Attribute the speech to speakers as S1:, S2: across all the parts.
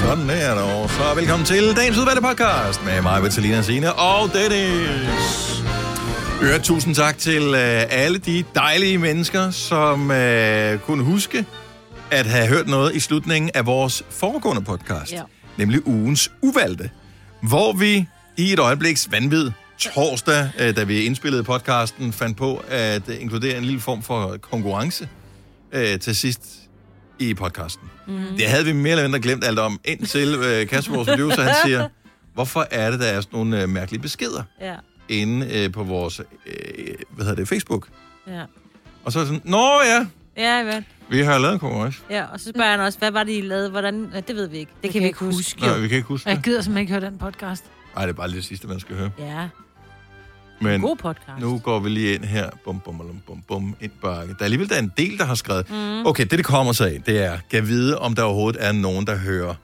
S1: Sådan er det over. Så velkommen til dagens udvalgte podcast med mig, Vitalina Sine og Dennis. Øre, tusind tak til øh, alle de dejlige mennesker, som øh, kunne huske at have hørt noget i slutningen af vores foregående podcast.
S2: Ja.
S1: Nemlig ugens uvalgte, hvor vi i et øjebliks vanvid torsdag, øh, da vi indspillede podcasten, fandt på at øh, inkludere en lille form for konkurrence øh, til sidst i podcasten. Mm. Det havde vi mere eller mindre glemt alt om, indtil øh, Kasper, vores producer, han siger, hvorfor er det, der er sådan nogle øh, mærkelige beskeder
S2: Ja,
S1: inde øh, på vores, øh, hvad hedder det, Facebook?
S2: ja.
S1: Og så er det sådan, nå ja,
S2: Ja, hvad?
S1: vi har lavet en konkurrence.
S2: ja, og så spørger han også, hvad var det, I lavede? Hvordan? Ja, det ved vi ikke. Det, det kan, vi ikke huske. huske.
S1: Nej, vi kan ikke huske
S3: Og jeg
S1: det.
S3: gider simpelthen ikke høre den podcast.
S1: Nej, det er bare lige det sidste, man skal høre.
S2: Ja,
S1: Men
S2: god podcast.
S1: nu går vi lige ind her. Bum, bum, bum, bum, bum, ind bakke. Der er alligevel der er en del, der har skrevet. Mm. Okay, det, det kommer sig af, det er, kan vide, om der overhovedet er nogen, der hører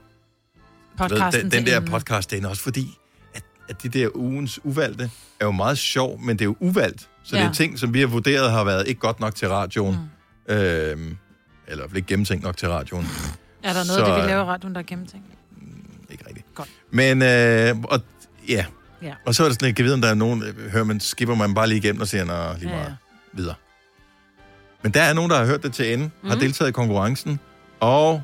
S3: Podcasten
S1: den,
S3: til
S1: den der
S3: enden.
S1: podcast derinde, også fordi, at, at det der ugens uvalgte er jo meget sjov, men det er jo uvalgt. Så ja. det
S2: Ja.
S1: er ting, som vi har vurderet har været ikke godt nok til radioen. Mm. Øhm, eller i hvert fald ikke gennemtænkt nok til radioen.
S3: Er der noget,
S1: Så,
S3: så, det vi
S1: øh,
S3: laver i radioen, der er gennemtænkt?
S1: ikke rigtigt.
S3: Godt.
S1: Men, øh, og, ja.
S2: Ja.
S1: Og så er det sådan, at jeg kan vide, om der er nogen, øh, hører man, skipper man bare lige igennem og siger, nej, lige
S3: Ja,
S1: meget
S3: ja.
S1: ja, videre. Men der er nogen, der har hørt det til ende, mm. har deltaget i konkurrencen, og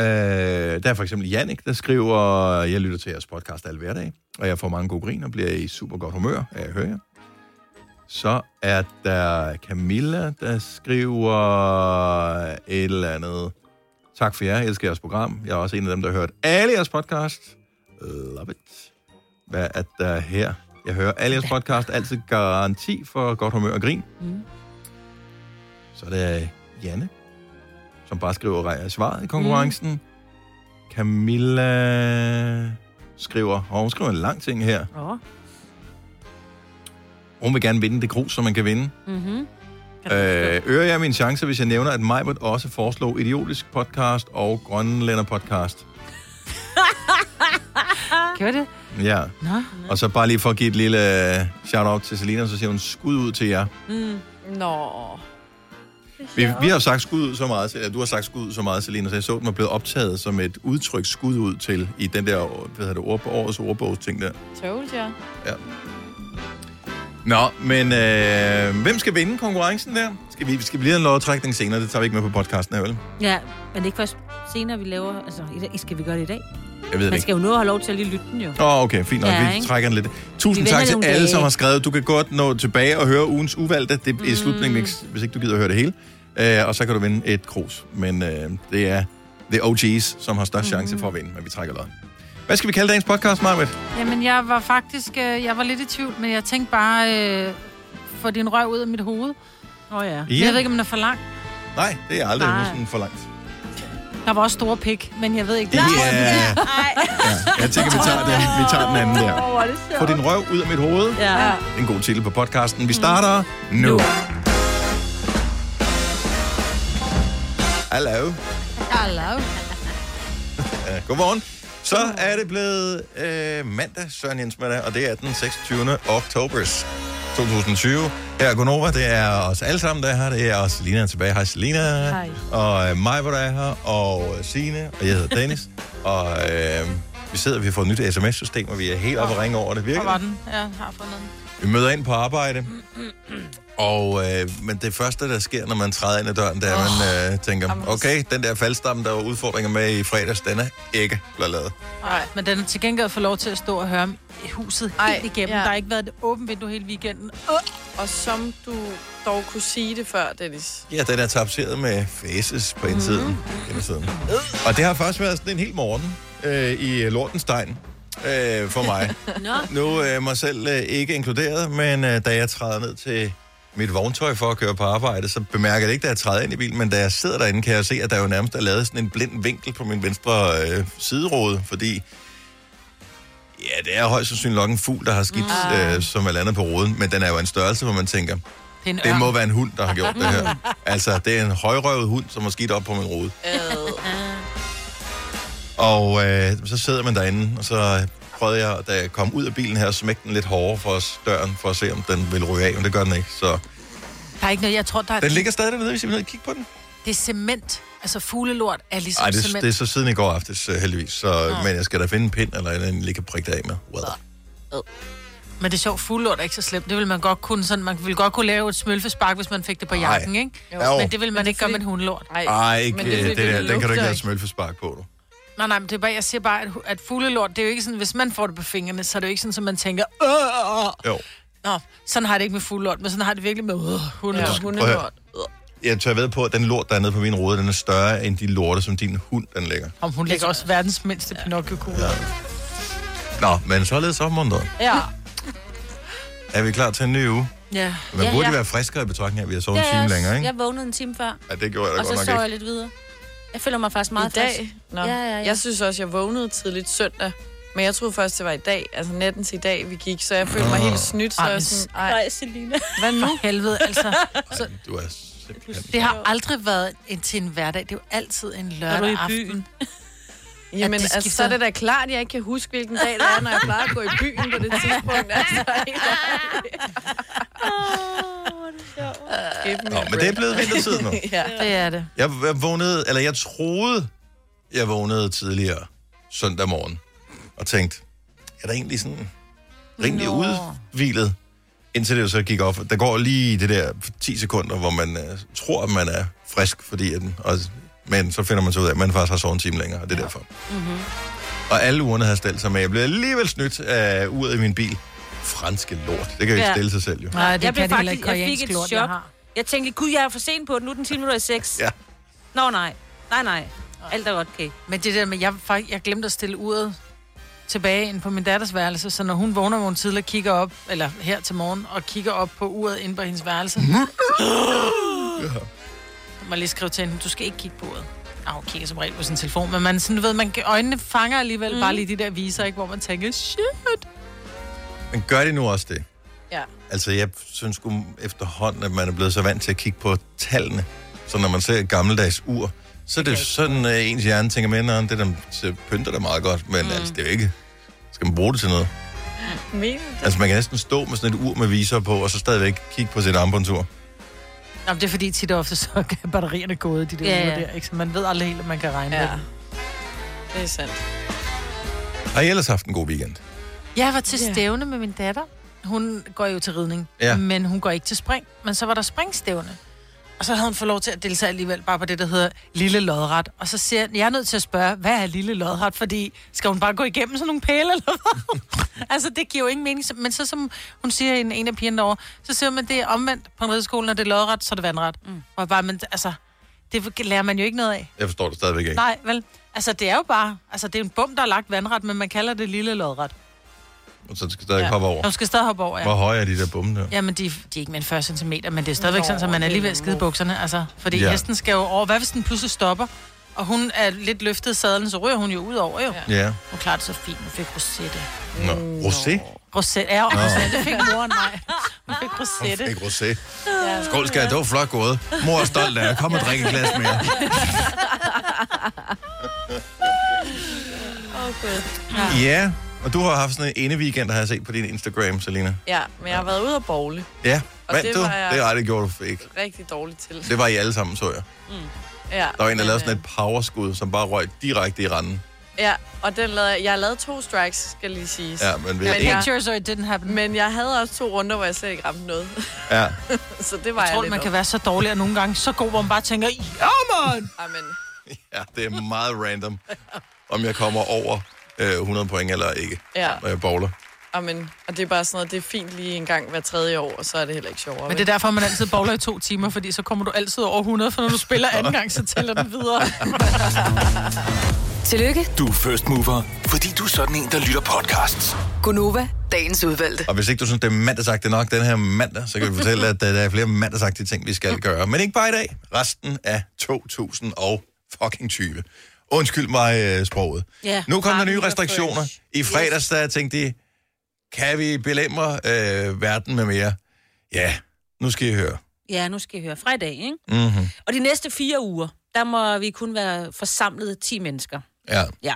S1: øh, der er for eksempel Jannik, der skriver, jeg lytter til jeres podcast alle hverdag, og jeg får mange gode griner, bliver i super godt humør, af at høre jer. Så er der Camilla, der skriver et eller andet. Tak for jer, jeg elsker jeres program. Jeg er også en af dem, der har hørt alle jeres podcast. Love it. Hvad er der her? Jeg hører alle jeres podcast, altid garanti for godt humør og grin. Mm. Så er der Janne, som bare skriver "Rej er svaret i konkurrencen. Mm. Camilla skriver, og hun skriver en lang ting her.
S2: Åh,
S1: Hun vil gerne vinde det grus, som man kan vinde.
S2: mhm. Kan du
S1: Øh, øger jeg min chance, hvis jeg nævner, at Majbert også foreslog idiotisk podcast og grønlænder podcast?
S3: Gjorde det?
S1: Ja.
S3: Nå.
S1: Og så bare lige for at give et lille øh, shout-out til Selina, så siger hun skud ud til jer.
S4: Nå.
S1: Vi, vi har jo sagt skud ud så meget, eller du har sagt skud ud så meget, Selina, så jeg så, den var blevet optaget som et udtryk skud ud til i den der, hvad hedder det, ord, årets ordbogsting der.
S4: Told jer.
S1: Nå, men øh, hvem skal vinde konkurrencen der? Skal vi, skal vi lige have en lodtrækning senere? Det tager vi ikke med på podcasten her, vel?
S2: Ja, men det er ikke først senere, vi laver... Altså, i dag, skal vi gøre det i dag?
S1: Jeg ved det
S2: Man
S1: ikke.
S2: skal jo nå at have lov til at lige lytte den, jo.
S1: Åh, oh, okay, fint nok.
S2: Ja,
S1: Ja, vi
S2: ikke?
S1: trækker den lidt. Tusind
S2: Vi
S1: tak
S2: venter
S1: til
S2: nogle
S1: alle,
S2: dage.
S1: som har skrevet. Du kan godt nå tilbage og høre ugens uvalgte. Det er mm. slutningen, hvis hvis ikke du gider at høre det hele. Uh, og så kan du vinde et krus. Men uh, det er The OG's, som har størst chance for at vinde, men vi trækker lod. Hvad skal vi kalde dagens podcast, Marvitt?
S3: Jamen, jeg var faktisk... øh, Jeg var lidt i tvivl, men jeg tænkte bare... Øh, få din røv ud af mit hoved.
S2: Åh, oh, ja.
S3: Yeah. Jeg ved ikke, om den er for lang.
S1: Nej, det er aldrig
S2: Nej.
S1: Nej. sådan for langt.
S3: Der var også store pik, men jeg ved ikke...
S1: Ja,
S3: Nej.
S1: ja. Jeg tænker, vi tager den, vi tager den anden der.
S4: Åh, hvor er det sjovt.
S1: Få din røv ud af mit hoved. Det
S2: Ja. ja.
S1: er en god titel på podcasten. Vi starter nu. Hallo.
S3: Hello.
S1: Ja, godmorgen. Så er det blevet øh, mandag, Søren Jens med og det er den 26. oktober 2020. Her er Gunova, det er os alle sammen, der er her. Det er også Selina er tilbage. Hej Selina.
S3: Hej.
S1: Og øh, mig, hvor der er her, og øh, Signe, og jeg hedder Dennis. og øh, vi sidder, vi har fået et nyt sms-system, og vi er helt oppe og ringe over det.
S3: Hvor
S1: Virkelig.
S3: var den? Ja, har fundet den.
S1: Vi møder ind på arbejde, og øh, men det første, der sker, når man træder ind ad døren, det er, at man øh, tænker, okay, den der faldstamme, der var udfordringer med i fredags, den er ikke blevet lavet.
S3: Nej, men den er til gengæld for lov til at stå og høre om huset
S4: Ej,
S3: helt igennem.
S4: ja.
S3: Der har ikke været et åbent vindue hele weekenden.
S4: Og som du dog kunne sige det før, Dennis.
S1: Ja, den er tapseret med faces på indsiden. Mm. indersiden. Og det har faktisk været sådan en hel morgen øh, i lortenstein øh, for mig.
S2: Nå,
S1: nu øh, mig selv øh, ikke inkluderet, men øh, da jeg træder ned til mit vogntøj for at køre på arbejde, så bemærker jeg det ikke, da jeg træder ind i bilen, men da jeg sidder derinde, kan jeg se, at der jo nærmest er lavet sådan en blind vinkel på min venstre øh, sideråde, fordi ja, det er højst sandsynligt nok en fugl, der har skidt, øh, som er landet på roden, men den er jo af en størrelse, hvor man tænker,
S3: Det er en
S1: det
S3: ørn.
S1: må være en hund, der har gjort det her. Altså, det er en højrøvet hund, som har skidt op på min rode. Og øh, så sidder man derinde, og så prøvede jeg, da jeg kom ud af bilen her, at smække den lidt hårdere for os, døren, for at se, om den vil ryge af, men det gør den ikke. Så
S3: Der er ikke noget, jeg tror, der er...
S1: den ligger stadig dernede, hvis jeg vil ned og kigge på den.
S3: Det er cement. Altså, fuglelort er ligesom
S1: Ej, det,
S3: cement.
S1: det er så siden i går aftes, øh, heldigvis. Så, Men jeg skal da finde en pind eller en, jeg lige kan prikke det af med. Well.
S3: Men det er sjovt, fuglelort er ikke så slemt. Det vil man godt kunne, sådan, man ville godt kunne lave et smølfespark, hvis man fik det på
S1: Ej.
S3: jakken, ikke?
S1: Jo.
S3: Men det vil man
S4: Men det er
S3: ikke gøre med
S4: fordi-
S3: en hundelort.
S4: Ej,
S1: Ej, ikke,
S4: men
S1: det,
S4: er
S1: det,
S4: fordi,
S1: der, den kan du ikke
S4: lugter
S1: lave smølfespark på, du.
S3: Nej, nej, men det er bare, jeg siger bare, at, hu- at fuglelort, det er jo ikke sådan, hvis man får det på fingrene, så er det jo ikke sådan, at man tænker, Åh!
S1: Jo.
S3: Nå, sådan har jeg det ikke med fuglelort, men sådan har jeg det virkelig med øh, hundelort.
S1: Du
S3: Ja.
S1: skal-
S4: hundelort.
S1: prøv at høre. Jeg tør ved på, at den lort, der er nede på min rode, den er større end de lorte, som din hund, den lægger.
S3: Om hun ligger også verdens mindste Pinocchio-kugle. Ja.
S1: Nå, men således opmuntret.
S4: Ja.
S1: Er vi klar til en ny uge?
S3: ja.
S1: Man
S2: Ja,
S1: burde
S2: ja.
S1: være friskere i betragtning af, at vi har sovet
S2: Ja,
S1: en time
S2: jeg-
S1: længere, ikke?
S2: Jeg vågnede en time før,
S1: Ja, det gjorde jeg da
S2: og så
S1: godt
S2: sov
S1: nok
S2: jeg
S1: ikke.
S2: lidt videre. Jeg føler mig faktisk
S4: I
S2: meget frisk.
S4: dag? Nå.
S2: Ja, ja, ja.
S4: Jeg synes også, jeg vågnede tidligt søndag. Men jeg troede først, det var i dag, altså natten til i dag, vi gik, så jeg følte mig
S1: Nå.
S4: helt snydt. Så
S3: Ej,
S4: jeg var
S3: men
S4: sådan,
S2: Ej,
S4: ej,
S2: Selina.
S4: hvad nu?
S3: For helvede, altså. Så,
S1: Ej, Du er simpelthen...
S3: det har aldrig været en, til en hverdag. Det er jo altid en
S2: du i
S3: lørdag aften.
S2: byen?
S4: Jamen,
S3: det
S4: altså, så
S3: skifter.
S4: er det da klart, at jeg ikke kan huske, hvilken dag det er, når jeg plejer at gå i byen på det tidspunkt. Altså, helt ærligt. Give me
S1: Nå,
S4: a
S1: men det er
S4: break.
S1: blevet vintertid nu.
S4: Ja.
S3: Det er det.
S1: Jeg, jeg vågnede, eller jeg troede, jeg vågnede tidligere søndag morgen, og tænkte, jeg er da egentlig sådan rimelig
S3: Nå.
S1: udvilet, indtil det jo så gik op. Der går lige det der 10 sekunder, hvor man øh, tror, at man er frisk, fordi at, og, men så finder man så ud af, at man faktisk har sovet en time længere, og det er derfor. Mm-hmm.
S3: Mhm.
S1: Og alle ugerne har stillet sig med. Jeg blev alligevel snydt af uret i min bil. Franske lort. Det kan jo ikke
S2: Ja.
S1: stille sig selv, jo.
S3: Nej, det
S2: Jeg
S3: jeg
S2: blev
S3: kan det heller ikke
S2: faktisk- jeg fik
S3: koreansk
S2: et
S3: lort,
S2: chok.
S3: jeg har.
S2: Jeg tænkte, gud, jeg er for sent på den. Nu er den 10 minutter i 6.
S1: Ja.
S2: Nå, nej. Nej, nej. Alt er godt, okay.
S3: Men det der med, jeg, fak- jeg glemte at stille uret tilbage ind på min datters værelse, så når hun vågner morgen tidligt og kigger op, eller her til morgen, og kigger op på uret inde på hendes værelse. Så må jeg lige skrive til hende, du skal ikke kigge på uret. Ah, hun kigger som regel på sin telefon, men man, sådan, du ved, man, kan- øjnene fanger alligevel mm. bare lige de der viser, ikke, hvor man tænker, shit.
S1: Men gør de nu også det?
S4: Ja.
S1: Altså, jeg synes sgu efterhånden, at man er blevet så vant til at kigge på tallene. Så når man ser et gammeldags ur, så er det jo sådan, at ens hjerne tænker med, at det der så pynter der meget godt, men mm. altså, det er jo ikke... Skal man bruge det til noget?
S4: Mener du det?
S1: Altså, man kan næsten stå med sådan et ur med viser på, og så stadigvæk kigge på sit armbåndsur.
S3: Nå, men det er fordi tit og ofte, så er batterierne gået, de der
S2: Ja,
S3: yeah.
S2: ja.
S3: uger der, ikke? Så man ved aldrig helt, om man kan regne ja.
S4: Ja.
S3: med dem.
S4: Det er sandt.
S1: Har I ellers haft en god weekend?
S3: Jeg var til
S4: Ja.
S3: stævne med min datter. Hun går jo til ridning,
S1: Ja.
S3: men hun går ikke til spring. Men så var der springstævne. Og så havde hun fået lov til at deltage alligevel bare på det, der hedder lille lodret. Og så siger jeg, jeg er nødt til at spørge, hvad er lille lodret? Fordi skal hun bare gå igennem sådan nogle pæle eller hvad? altså, det giver jo ingen mening. Så- Men så som hun siger en, en af pigerne derovre, så siger man, det er omvendt på en rideskole, når det er lodret, så er det vandret. Mm. Og bare, men altså, det lærer man jo ikke noget af.
S1: Jeg forstår det stadigvæk ikke.
S3: Nej, vel? Altså, det er jo bare... Altså, det er en bum, der er lagt vandret, men man kalder det lille lodret.
S1: Så det skal stadig
S4: Ja.
S1: hoppe over.
S3: Når du skal stadig hoppe over, ja.
S1: Hvor høje er de der bomme der?
S3: Jamen, de, de er ikke mere end 40 cm, men det er stadigvæk
S4: Nå,
S3: Nå, sådan, at man er lige ved at
S4: det er
S3: skide bukserne. Altså, fordi
S1: Ja.
S3: ja. hesten skal jo over. Hvad hvis den pludselig stopper? Og hun er lidt løftet i sadlen, så ryger hun jo ud over, jo. Ja.
S1: Ja.
S3: Hun klarede det så fint. Hun fik rosette.
S1: Nå. Rosé?
S3: Rosette, ja, rosette fik moren, nej. Hun fik rosette.
S1: Ikke rosé. Skål, skat. Det var flot gået. Mor er stolt af jer. Kom og drik et glas mere.
S4: Okay.
S1: Ja, og du har haft sådan en ene weekend, der har jeg set på din Instagram, Selina.
S4: Ja, men jeg har været ude og bowle.
S1: Ja,
S4: Og
S1: vandt
S4: det
S1: du?
S4: var jeg-
S1: Det er ret, det gjorde du ikke.
S4: Rigtig dårligt til.
S1: Det var I alle sammen, så jeg.
S4: Ja,
S1: Der var en, der
S4: men,
S1: lavede
S4: øh,
S1: sådan et powerskud, som bare røg direkte i randen.
S4: Ja, og den lavede jeg. Jeg har lavet to strikes, skal lige siges.
S1: Ja, men ved
S4: Men
S1: en,
S4: jeg-
S3: Pictures, or it didn't happen. Men
S4: Men jeg havde også to runder, hvor jeg slet ikke ramte noget.
S1: ja.
S4: så det var
S3: jeg
S4: jeg,
S3: tror,
S4: lidt
S3: man kan
S4: over.
S3: være så dårlig, og nogle gange så god, hvor man bare tænker, ja, man!
S4: Ej, men
S1: ja, det er meget random, om jeg kommer over øh, 100 point eller ikke,
S4: Ja.
S1: når jeg bowler.
S4: Amen. Og det er bare sådan noget, det er fint lige en gang hver tredje år, og så er det heller ikke sjovere.
S3: Men det er derfor, man altid bowler i to timer, fordi så kommer du altid over 100, for når du spiller anden gang, så tæller den videre.
S5: Tillykke,
S6: Du er first mover, fordi du er sådan en, der lytter podcasts.
S5: Gunova, dagens udvalgte.
S1: Og hvis ikke du synes, det er mandagsagtigt nok den her mandag, så kan vi fortælle, at øh, der er flere mandagsagtige ting, vi skal gøre. Men ikke bare i dag. Resten af 2020. Undskyld mig øh, sproget.
S2: Ja.
S1: Nu kom der
S2: Mange
S1: nye
S2: der
S1: restriktioner.
S2: fresh.
S1: I fredags der tænkte de, kan vi belemre øh, verden med mere? Ja, nu skal I høre.
S2: Ja, nu skal I høre. Fra i dag, ikke?
S1: Mm-hmm.
S2: Og de næste fire uger, der må vi kun være forsamlet 10 mennesker.
S1: Ja.
S2: Ja.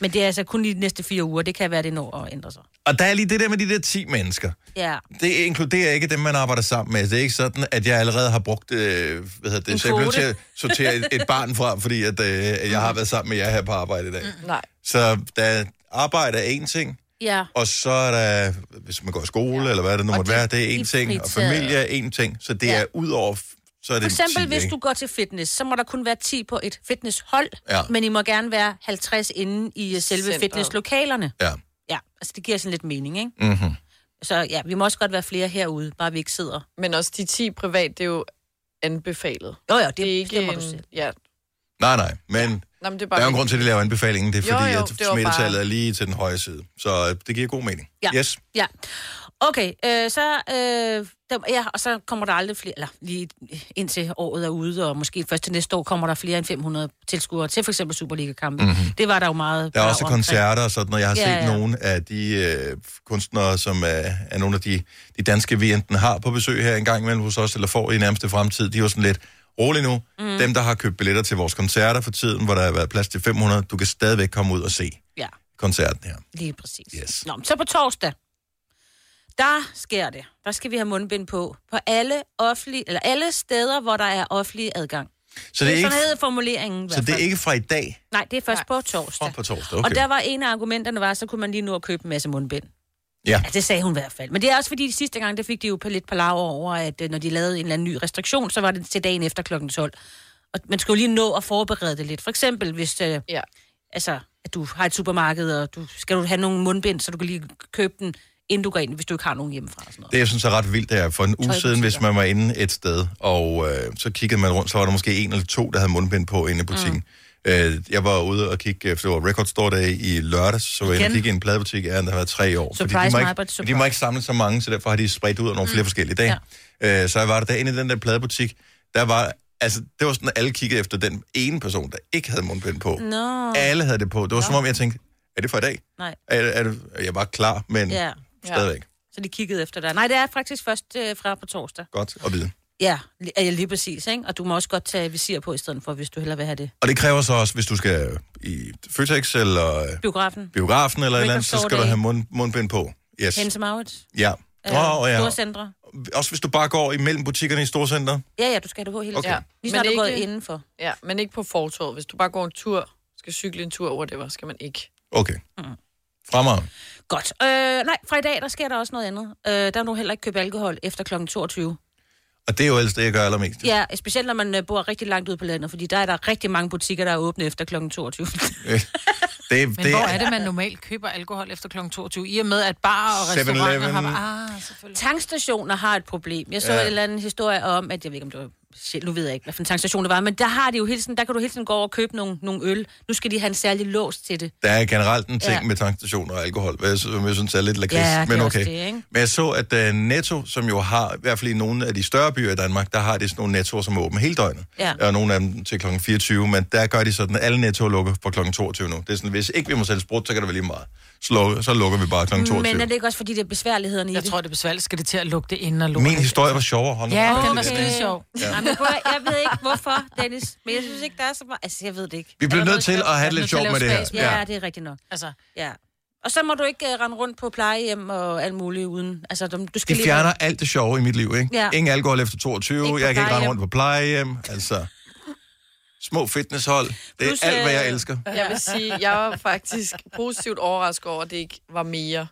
S2: Men det er altså kun lige de næste fire uger. Det kan være, det når at ændre sig.
S1: Og der er lige det der med de der 10 mennesker.
S2: Ja.
S1: Det inkluderer ikke dem, man arbejder sammen med. Det er ikke sådan, at jeg allerede har brugt, øh, hvad hedder det, så jeg blev til
S2: kvote.
S1: at sortere et, et barn fra, fordi at, øh, jeg har været sammen med jer her på arbejde i dag.
S4: Nej.
S1: Så der arbejde er en ting,
S2: Ja.
S1: og så er der, hvis man går i skole, ja. eller hvad det nu
S2: Og
S1: måtte
S2: de-
S1: være, det er en
S2: de
S1: ting, og
S2: fritager.
S1: familie er en ting, så det
S2: Ja.
S1: er ud over, f- så er det
S2: For eksempel,
S1: 10,
S2: hvis
S1: ikke?
S2: du går til fitness, så må der kun være 10 på et fitnesshold,
S1: Ja.
S2: men I må gerne være 50 inde i øh, selve
S4: Centeret.
S2: fitnesslokalerne.
S1: Ja.
S2: Ja, altså det giver sådan lidt mening, ikke?
S1: Mm-hmm.
S2: Så ja, vi må også godt være flere herude, bare vi ikke sidder.
S4: Men også de 10 privat, det er jo anbefalet.
S2: Jo, jo, det,
S4: Det er ikke øh,
S2: bestemmer
S4: en...
S2: du selv.
S4: Ja.
S1: Nej, nej, men
S4: Nå, men det
S1: der
S4: er bare...
S1: er jo en grund til, at de laver anbefalingen, det er
S4: Jo,
S1: fordi,
S4: jo,
S1: at
S4: det var
S1: smittetallet
S4: bare-
S1: er lige til den høje side, så øh, det giver god mening.
S2: Ja.
S1: Yes.
S2: Ja. Okay, øh, så, øh, der, ja, og så kommer der aldrig flere, eller lige indtil året er ude, og måske først til næste år kommer der flere end 500 tilskuere til for eksempel Superliga-kampe. Mm-hmm. Det var der jo meget.
S1: Mhm. Der er
S2: bra
S1: også
S2: omkring.
S1: koncerter og sådan noget. Jeg har
S2: Ja,
S1: set
S2: ja.
S1: nogle af de øh, kunstnere, som øh, er nogle af de, de danske, vi enten har på besøg her en gang imellem hos os, eller får i nærmeste fremtid. De er jo sådan lidt rolig nu.
S2: Mhm.
S1: Mm. Dem, der har købt billetter til vores koncerter for tiden, hvor der har været plads til 500, du kan stadigvæk komme ud og se
S2: Ja,
S1: koncerten her.
S2: lige præcis.
S1: Yes.
S2: Nå, men så på torsdag, der sker det. Der skal vi have mundbind på. På alle, offentlige, eller alle steder, hvor der er offentlig adgang.
S1: Så
S2: Det er
S1: det er ikke,
S2: sådan hedder formuleringen i hvert
S1: så det er
S2: fald.
S1: ikke fra i dag
S2: Nej, det er først
S4: Nej.
S2: på torsdag.
S1: og på torsdag.
S2: Okay. Og der
S1: Okay.
S2: var en af argumenterne var, så kunne man lige nu at købe en masse mundbind.
S1: Ja.
S2: Ja, det sagde hun i hvert fald. Men det er også fordi, de sidste gang, der fik de jo lidt palaver over, at øh, når de lavede en eller anden ny restriktion, så var det til dagen efter klokken 12. Og man skulle jo lige nå at forberede det lidt. For eksempel, hvis øh,
S4: Ja.
S2: altså, at du har et supermarked, og du skal du have nogle mundbind, så du kan lige købe den, inden du går ind, hvis du ikke har nogen hjemmefra. og Sådan noget.
S1: Det, jeg synes er ret vildt, det er for en uge siden, hvis man var inde et sted, og øh, så kiggede man rundt, så var der måske en eller to, der havde mundbind på inde i butikken. Mm. Øh, jeg var ude og kigge, øh, for det var Record Store Day i lørdags, så var jeg inde og
S2: Igen?
S1: kigge i en pladebutik, ja, der har været tre år. fordi de
S2: Surprise,
S1: må,
S2: Maja, but
S1: ikke,
S2: surprise.
S1: de må ikke samle så mange, så derfor har de spredt ud over nogle mm. flere forskellige dage. Ja. Øh, så jeg var der derinde i den der pladebutik, der var, altså, det var sådan, at alle kiggede efter den ene person, der ikke havde mundbind på. Mm.
S2: Nå,
S1: Alle havde det på. Det var som om, jeg tænkte, er det for i dag?
S2: nej.
S1: Er, er det, jeg var klar, men
S2: Ja,
S1: stadigvæk.
S2: så de kiggede efter dig. Nej, det er faktisk først øh, fra på torsdag.
S1: Godt at vide.
S2: Ja, li- ja, lige præcis, ikke? Og du må også godt tage visir på i stedet for, hvis du hellere vil have det.
S1: Og det kræver så også, hvis du skal i Føtex eller øh,
S2: Biografen,
S1: biografen eller et eller andet, så
S2: Store
S1: skal du
S2: Dag.
S1: have mund, mundbind på. Yes.
S2: Hennes Maurits,
S1: Ja.
S2: øh,
S1: Åh, oh, ja.
S2: Storcentre.
S1: Også hvis du bare går imellem butikkerne i storcenter.
S2: Ja, ja, du skal have det på hele
S1: Okay.
S2: tiden.
S1: Ja,
S2: Lige
S4: men
S2: snart du er
S4: ikke-
S2: gået indenfor.
S4: ja, men ikke på fortorvet. Hvis du bare går en tur, skal cykle en tur, whatever, skal man ikke.
S1: Okay.
S3: Mm.
S1: Fremad.
S2: Godt. Øh, nej, fra i dag, der sker der også noget andet. Øh, der må du heller ikke købe alkohol efter kl. 22.
S1: Og det er jo ellers det, jeg gør allermest.
S2: Ja, specielt når man øh, bor rigtig langt ude på landet, fordi der er der rigtig mange butikker, der er åbne efter kl. 22.
S1: Det,
S3: Men det hvor er det, man normalt køber alkohol efter kl. 22? I og med, at barer og
S1: 7-Eleven.
S3: restauranter har... Ah, selvfølgelig.
S2: Tankstationer har et problem. Jeg så
S1: Ja.
S2: ja. en eller anden historie om, at jeg ved ikke, om det var Shit, nu ved jeg ikke, hvad for en tankstation det var, men der, har de jo hele tiden, der kan du hele tiden gå over og købe nogle, nogle øl. Nu skal de have en særlig lås til det.
S1: Der er generelt en ting ja.
S2: Ja.
S1: med tankstationer og alkohol, hvad jeg, sy- som jeg synes er lidt lakrids,
S2: Ja, det er
S1: men
S2: også
S1: okay.
S2: det, ikke?
S1: Men jeg så, at uh, Netto, som jo har, i hvert fald i nogle af de større byer i Danmark, der har de sådan nogle nettoer, som er åbne hele døgnet.
S2: Ja.
S1: Og nogle af dem til kl. 24, men der gør de sådan, at alle nettoer lukker på kl. 22 nu. Det er sådan, hvis ikke vi må sælge sprut, så kan det være lige meget. Så lukker, så lukker vi bare kl. 22.
S2: Men er det ikke også, fordi det er besværlighederne i
S3: Jeg
S2: det?
S3: tror, det er besværligt. Skal det til at lukke det ind og lukke
S1: Min historie var sjovere. Hold nu
S3: Ja,
S1: op.
S3: den var skide sjov.
S2: Ja. Nej, men prøv, at- jeg ved ikke, hvorfor, Dennis. Men jeg synes ikke, der er så meget... Altså, jeg ved det ikke.
S1: Vi bliver
S2: Er der
S1: nødt til
S2: noget
S1: at have
S3: er
S1: det lidt
S3: nødt til at
S1: sjovt med det
S3: lave
S1: her.
S3: spas
S2: sjovt? Ja, det er rigtigt nok.
S3: Altså,
S2: Ja. Og så må du ikke uh, rende rundt på plejehjem og alt muligt uden... Altså, du du skal
S1: De fjerner alt det sjove i mit liv, ikke?
S2: Ja.
S1: Ingen alkohol efter 22,
S2: Ikke på
S1: jeg kan ikke rende
S2: plejehjem.
S1: rundt på plejehjem, altså... Små fitnesshold, det er
S2: Plus,
S1: alt, hvad jeg
S2: øh,
S1: elsker.
S4: Jeg vil sige, jeg var faktisk positivt overrasket over, at det ikke var mere.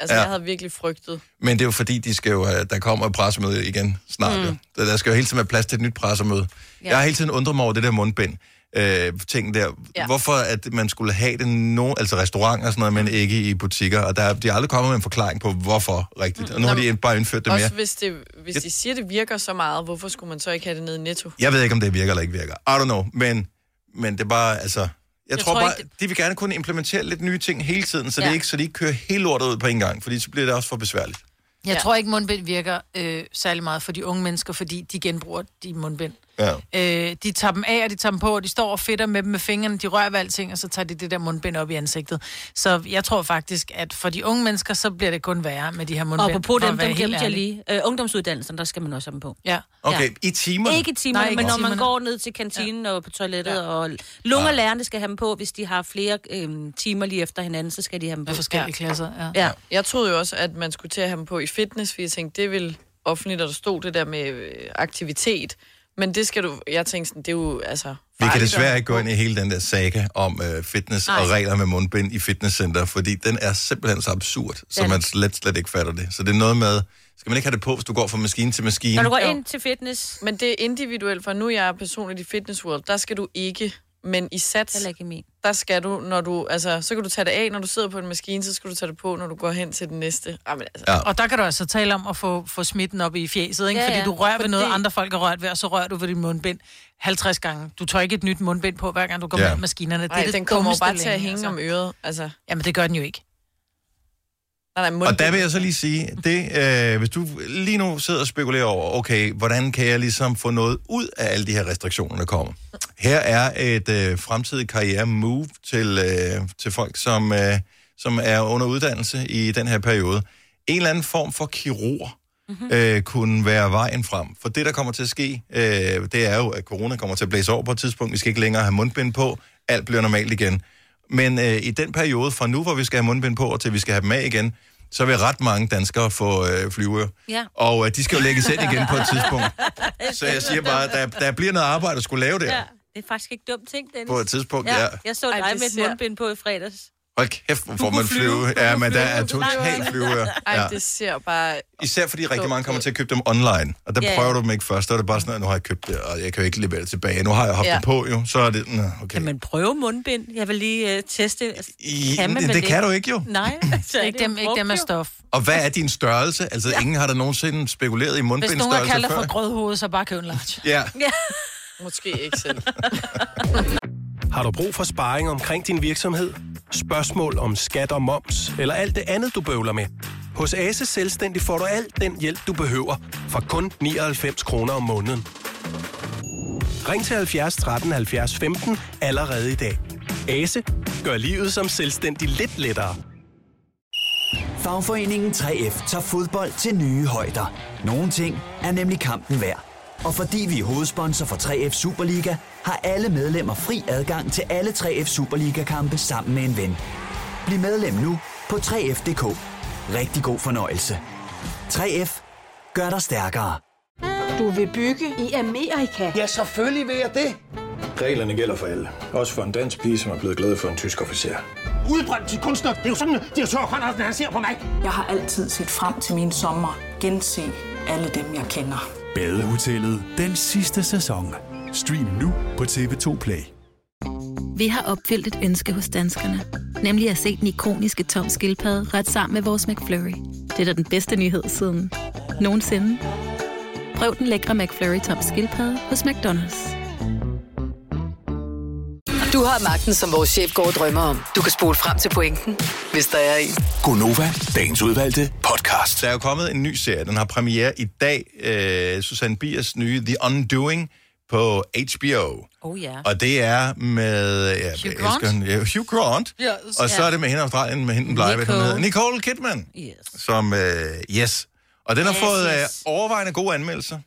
S4: Altså,
S1: Ja.
S4: ja. jeg havde virkelig frygtet.
S1: Men det er jo fordi, de skal jo, have- der kommer et pressemøde igen snart. Mm. Der, der skal jo hele tiden være plads til et nyt pressemøde. Ja.
S2: Ja.
S1: Jeg har hele tiden undret mig over det der mundbind. Øh, ting der. Ja.
S4: Ja.
S1: Hvorfor at man skulle have det no, altså restauranter og sådan noget, men
S2: Mm.
S1: ikke i butikker. Og der, er- de er aldrig kommet med en forklaring på, hvorfor rigtigt. Og nu har de bare indført det
S4: Også
S1: mere.
S4: hvis, det, hvis de siger, det virker så meget, hvorfor skulle man så ikke have det nede i netto?
S1: Jeg ved ikke, om det virker eller ikke virker. I don't know. Men, men det er bare, altså... Jeg, jeg tror,
S3: tror
S1: bare,
S3: ikke,
S1: de vil gerne kunne implementere lidt nye ting hele tiden, så, ja. det
S2: Ja.
S1: ikke, så de ikke kører hele lortet ud på en gang, fordi så bliver det også for besværligt.
S3: jeg
S4: Ja.
S3: tror ikke, mundbind virker øh, særlig meget for de unge mennesker, fordi de genbruger de mundbind.
S1: Ja.
S3: Øh, de tager dem af, og de tager dem på, og de står og fedter med dem med fingrene, de rører ved alting, og så tager de det der mundbind op i ansigtet. Så jeg tror faktisk, at for de unge mennesker, så bliver det kun værre med de her mundbind.
S2: Og på
S3: for at
S2: dem,
S3: være helt
S2: dem glemte jeg
S3: ærlig.
S2: lige. Øh, ungdomsuddannelsen, der skal man også have dem på.
S3: Ja.
S1: Okay, i timer.
S2: Ikke i timerne,
S3: Nej,
S2: Nej,
S3: ikke
S2: men
S3: i
S2: når man
S3: timerne.
S2: går ned til kantinen ja. og på toilettet, ja. og lungerlærerne skal have dem på, hvis de har flere øhm, timer lige efter hinanden, så skal de have dem på.
S3: Med forskellige klasser, ja.
S2: Ja.
S4: Jeg troede jo også, at man skulle til at have dem på i fitness, fordi jeg tænkte, det ville offentligt, og der stod det der med øh, aktivitet. Men det skal du... Jeg tænkte sådan, det er jo altså...
S1: Vi kan
S4: farligt at
S1: desværre
S4: have
S1: ikke gå ind i hele den der saga om øh, fitness Ej. og regler med mundbind i fitnesscenter, fordi den er simpelthen så absurd, så
S2: Den-
S1: man slet, slet ikke fatter det. Så det er noget med, skal man ikke have det på, hvis du går fra maskine til maskine?
S2: Når du går
S4: Jo.
S2: ind til fitness,
S4: Men det er individuelt, for nu er jeg personligt i Fitness World, der skal du ikke, men i sats,
S2: heller ikke i min.
S4: der skal du, når du, altså, så kan du tage det af, når du sidder på en maskine, så skal du tage det på, når du går hen til den næste. Ah, men altså,
S1: Ja.
S4: ja.
S3: Og der kan du altså tale om at få, få smitten op i fjeset, ikke?
S2: Ja,
S3: Ja, fordi
S2: ja.
S3: du rører ved noget,
S2: Fordi-
S3: andre folk har rørt ved, og så rører du ved din mundbind 50 gange. Du tør ikke et nyt mundbind på, hver gang du går
S1: Ja.
S3: med maskinerne. Det
S4: Nej,
S3: er det
S4: den kommer jo
S3: dummeste
S4: bare til
S3: længe,
S4: at hænge altså.
S3: altså.
S4: om øret. Altså,
S3: Jamen, det gør den jo ikke.
S4: nej, nej,
S1: Og der vil jeg så lige sige, det, øh, hvis du lige nu sidder og spekulerer over, okay, hvordan kan jeg ligesom få noget ud af alle de her restriktioner, der kommer? Her er et øh, fremtidigt karriere-move til, øh, til folk, som, øh, som er under uddannelse i den her periode. En eller anden form for kirurg mm-hmm. øh, kunne være vejen frem. For det, der kommer til at ske, øh, det er jo, at corona kommer til at blæse over på et tidspunkt. Vi skal ikke længere have mundbind på. Alt bliver normalt igen. Men øh, i den periode fra nu, hvor vi skal have mundbind på, og til vi skal have dem af igen, så vil ret mange danskere få øh, flyver.
S2: Ja.
S1: Og øh, de skal jo lægges ind igen på et tidspunkt. Så jeg siger bare, der, der bliver noget arbejde at skulle lave der ja.
S2: Ja. Det er faktisk ikke dumt ting, Dennis.
S1: på et tidspunkt. Ja. Ja.
S2: Jeg så
S4: Ej,
S2: dig
S4: det
S2: med et
S4: ser-
S2: mundbind på i fredags.
S1: Hold kæft, hvor får
S2: kunne
S1: man flyve.
S2: flyve. Du
S1: Ja,
S2: kunne
S1: men der
S2: flyve.
S1: er
S2: Du kunne
S1: totalt flyver.
S4: Ej,
S1: Ja.
S4: det ser bare...
S1: Især fordi rigtig mange kommer til at købe dem online. Og der
S2: Ja,
S1: yeah.
S2: ja.
S1: prøver du dem ikke først. Så er det bare sådan, at nu har jeg købt det, og jeg kan jo ikke levere det tilbage. Nu har jeg haft
S4: Ja.
S1: det på jo. Så er det, nå, okay.
S2: Kan man prøve mundbind? Jeg vil lige øh, teste. Altså,
S1: I,
S2: kan man
S1: det,
S2: vel
S1: det kan
S2: ikke?
S1: du ikke jo.
S2: Nej, så er
S3: Ikke
S2: det jo
S3: dem, ikke dem
S2: brugt,
S3: af
S2: jo.
S3: stof.
S1: Og hvad er din størrelse? Altså, ingen har da nogensinde spekuleret i
S3: Hvis nogen har
S1: mundbindstørrelse
S3: kaldt dig
S1: altså før.
S3: for grødhoved, så bare køb en large.
S1: Ja.
S4: Måske ikke selv.
S7: Har du brug for sparring omkring din virksomhed? Spørgsmål om skat og moms, eller alt det andet, du bøvler med? Hos Ase Selvstændig får du alt den hjælp, du behøver, for kun 99 kroner om måneden. Ring til 70 13 70 15 allerede i dag. Ase gør livet som selvstændig lidt lettere.
S8: Fagforeningen 3F tager fodbold til nye højder. Nogle ting er nemlig kampen værd. Og fordi vi er hovedsponsor for 3F Superliga, har alle medlemmer fri adgang til alle 3F Superliga-kampe sammen med en ven. Bliv medlem nu på 3F.dk. Rigtig god fornøjelse. 3F gør dig stærkere.
S9: Reglerne gælder for alle. Også for en dansk pige, som er blevet glad for en tysk officer.
S10: udbrændt til kunstner. Det er jo sådan, at de har tørt, han ser på mig.
S11: Jeg har altid set frem til min sommer, gense alle dem, jeg kender.
S7: Badehotellet den sidste sæson. Stream nu på TV2 Play.
S11: Vi har opfyldt et ønske hos danskerne. Nemlig at se den ikoniske tom skildpadde ret sammen med vores McFlurry. Det er da den bedste nyhed siden nogensinde. Prøv den lækre McFlurry tom skildpadde hos McDonald's.
S5: Du har magten, som vores chef går og drømmer om. Du kan spole frem til pointen, hvis der er en.
S6: Gonova, dagens udvalgte podcast.
S1: Der er jo kommet en ny serie. Den har premiere i dag. Øh, Susanne Biers nye The Undoing på HBO.
S2: Oh ja.
S1: Og det er med... Ja, jeg elsker
S3: Grant?
S1: hende. Ja, Hugh Grant.
S3: Yes.
S1: Og så er det med hende i Australien, med hende den blege, hvad hun
S2: Nicole.
S1: hedder. Nicole Kidman,
S2: Yes.
S1: som... Øh, yes. Og den har
S2: Yes,
S1: fået øh,
S2: yes.
S1: overvejende gode anmeldelser.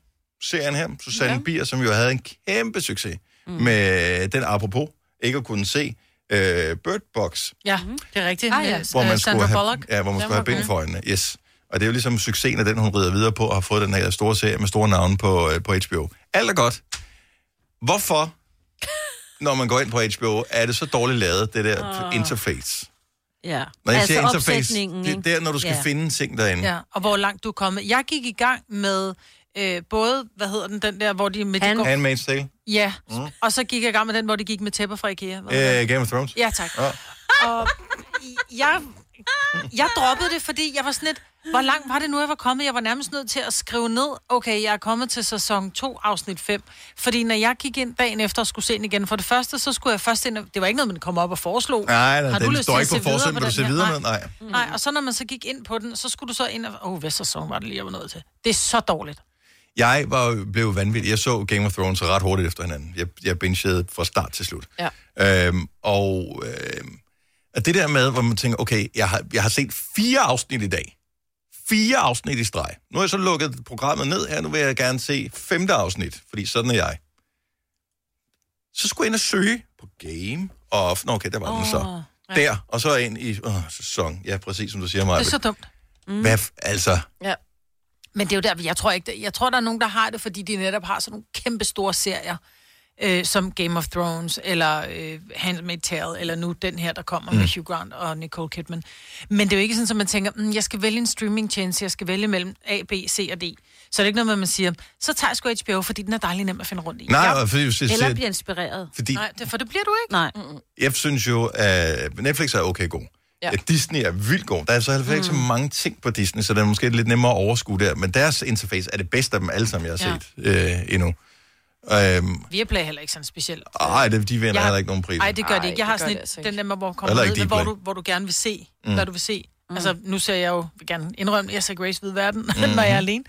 S1: Serien her, Susanne ja. Bier, som jo havde en kæmpe succes mm. med den apropos, ikke at kunne se øh, Bird Box,
S3: Ja, det er rigtigt.
S2: Ah, ja.
S3: Med,
S1: hvor
S3: øh,
S1: man
S3: Sandra
S1: skulle have,
S3: Bullock.
S1: ja, hvor man skulle have
S3: var
S1: bind
S3: god.
S1: for øjnene. Yes. Og det er jo ligesom succesen af den, hun rider videre på, og har fået den her store serie med store navne på, øh, på HBO. Alt er godt. Hvorfor, når man går ind på HBO, er det så dårligt lavet, det der
S3: Ah.
S1: oh. interface?
S2: Ja.
S1: Når jeg
S2: altså
S1: siger interface,
S2: opsætningen,
S1: det er
S2: ikke?
S1: der, når du skal
S2: Ja.
S1: finde ting derinde.
S3: Ja, og hvor langt du er kommet. Jeg gik i gang med øh, både, hvad hedder den, den der, hvor de med
S2: Han-
S3: de går...
S1: Handmaid's Tale,
S3: Ja, og så gik jeg i gang med den, hvor de gik med tæpper fra Ikea. Hvad hedder den?
S1: øh, Game of Thrones.
S3: Ja, tak.
S1: Ja.
S3: Og jeg, jeg droppede det, fordi jeg var sådan lidt, hvor langt var det nu, jeg var kommet? Jeg var nærmest nødt til at skrive ned, okay, jeg er kommet til sæson 2, afsnit 5. Fordi når jeg gik ind dagen efter og skulle se den igen, for det første, så skulle jeg først ind, og, det var ikke noget, man kom op og foreslog.
S1: Nej, nej,
S3: Har du
S1: den
S3: lyst
S1: står
S3: til at
S1: ikke
S3: se
S1: på
S3: videre
S1: forsiden,
S3: på
S1: vil du
S3: den
S1: se
S3: her?
S1: videre med? Nej.
S3: Nej, og så når man så gik ind på den, så skulle du så ind og... Åh, oh, hvad sæson var det lige, jeg var nået til? Det er så dårligt.
S1: Jeg var, blev vanvittig. Jeg så Game of Thrones ret hurtigt efter hinanden. Jeg, jeg bingede fra start til slut.
S4: Ja.
S1: Øhm, og, øhm, og det der med, hvor man tænker, okay, jeg har, jeg har set fire afsnit i dag. Fire afsnit i streg. Nu har jeg så lukket programmet ned her, nu vil jeg gerne se femte afsnit, fordi sådan er jeg. Så skulle jeg ind og søge på Game of... Nå, okay, der var oh, den så.
S3: ja.
S1: Der, og så ind i åh, sæson. Ja, præcis som du siger, Maja.
S3: Det er så dumt. Mm.
S1: Hvad, f- altså...
S4: Ja.
S3: Men det er jo der, jeg tror ikke, det- jeg tror, der er nogen, der har det, fordi de netop har sådan nogle kæmpe store serier, øh, som Game of Thrones, eller øh, Handmaid's Tale, eller nu den her, der kommer mm.
S12: Mm.
S3: med Hugh Grant og Nicole Kidman. Men det er jo ikke sådan, at man tænker, mm, jeg skal vælge en streamingtjeneste, jeg skal vælge mellem A, B, C og D. Så er det ikke noget med, at man siger, så tager jeg sgu HBO, fordi den er dejlig nem at finde rundt i.
S1: Nej, og fordi hvis jeg
S3: Eller
S1: siger-
S3: bliver inspireret.
S1: Fordi-
S3: Nej, det, for det bliver du ikke.
S2: Nej.
S1: Jeg synes jo, at Netflix er okay god.
S3: Ja.
S1: Ja. Disney er vildt god. Der er så heller ikke så mange ting på Disney, så det er måske lidt nemmere at overskue der. Men deres interface er det bedste af dem alle sammen, jeg har
S3: Ja.
S1: set øh, endnu. Øhm,
S3: Viaplay er heller ikke sådan specielt.
S1: ej, det- de vinder heller ikke nogen priser.
S3: Nej, det gør de
S4: Ej,
S3: ikke. Jeg har
S4: det gør
S3: sådan
S4: det altså
S3: et, den der, med, hvor, man kommer
S1: Heller
S3: ned,
S1: ikke
S3: hvor,
S1: Dplay.
S3: du, hvor du gerne vil se,
S1: Mm.
S3: mm. hvad du vil se. Mm. Altså, nu ser jeg jo, vil gerne indrømme, jeg ser Grace Hvide Verden, mm.
S12: Mhm.
S3: når jeg er alene.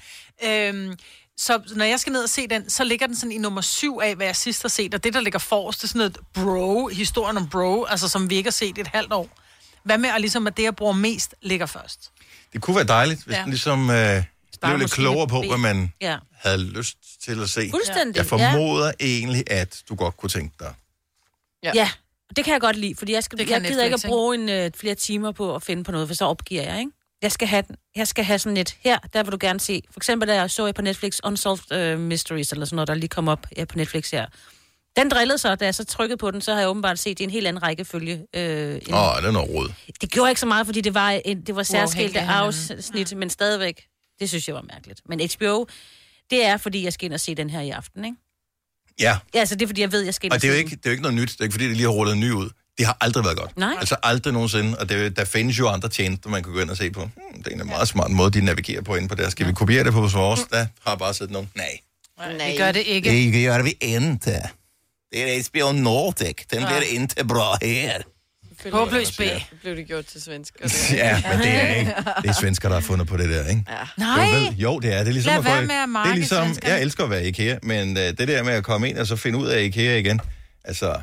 S3: Øhm, så når jeg skal ned og se den, så ligger den sådan i nummer syv af, hvad jeg sidst har set. Og det, der ligger forrest, det er sådan noget bro, historien om bro, altså som vi ikke har set i et halvt år. Hvad med, at ligesom, at det, jeg bruger mest, ligger først?
S1: Det kunne være dejligt, hvis
S3: Ja.
S1: ja. man ligesom øh, blev lidt
S3: måske
S1: klogere
S3: lidt
S1: på,
S3: ben.
S1: hvad man
S2: Ja.
S1: havde lyst til at se.
S2: Fuldstændig,
S1: Jeg formoder ja. egentlig, at du godt kunne tænke dig.
S2: Ja. ja. Det kan jeg godt lide, fordi jeg, skal,
S3: Det
S2: jeg
S3: kan
S2: gider
S3: Netflix,
S2: ikke at
S3: ikke?
S2: bruge en, øh, flere timer på at finde på noget, for så opgiver jeg, ikke? Jeg skal have, den. jeg skal have sådan et her, der vil du gerne se. For eksempel, der så jeg på Netflix Unsolved uh, Mysteries, eller sådan noget, der lige kom op ja, på Netflix her. Den drillede så, da jeg så trykkede på den, så har jeg åbenbart set i en helt anden rækkefølge. Øh, end-
S1: Åh, oh, det er noget råd.
S2: Det gjorde ikke så meget, fordi det var, en, det var særskilte
S3: af hinanden.
S2: afsnit, men stadigvæk, det synes jeg var mærkeligt. Men HBO, det er, fordi jeg skal ind og se den her i aften, ikke?
S1: Ja,
S2: Ja, altså det er, fordi jeg ved, jeg skal ind og,
S1: og det er, jo
S2: se
S1: ikke, det er jo ikke noget nyt. Det er ikke, fordi det lige har rullet en ny ud. Det har aldrig været godt.
S2: Nej.
S1: Altså aldrig nogensinde. Og det, er jo- der findes jo andre tjenester, man kan gå ind og se på. Hmm, det er en meget smart måde, de navigerer på inde på der. Skal vi kopiere det på hos vores? Der har bare siddet nogen. Nej.
S3: Nej. Det gør det ikke.
S1: gør vi ikke. Det er HBO Nordic. Den
S4: bliver
S1: ikke bra her.
S3: Håbløs B.
S4: Blev det gjort til svensk.
S1: Ja, men det er ikke. Det er svensker, der har fundet på det der, ikke? Ja.
S3: Nej.
S1: Jo, vel, jo, det er. Det er ligesom
S3: Lad
S1: at gå
S3: være
S1: i-
S3: med at
S1: det
S3: marke
S1: er ligesom,
S3: svenskerne.
S1: jeg elsker at være i IKEA, men uh, det der med at komme ind og så finde ud af IKEA igen, altså,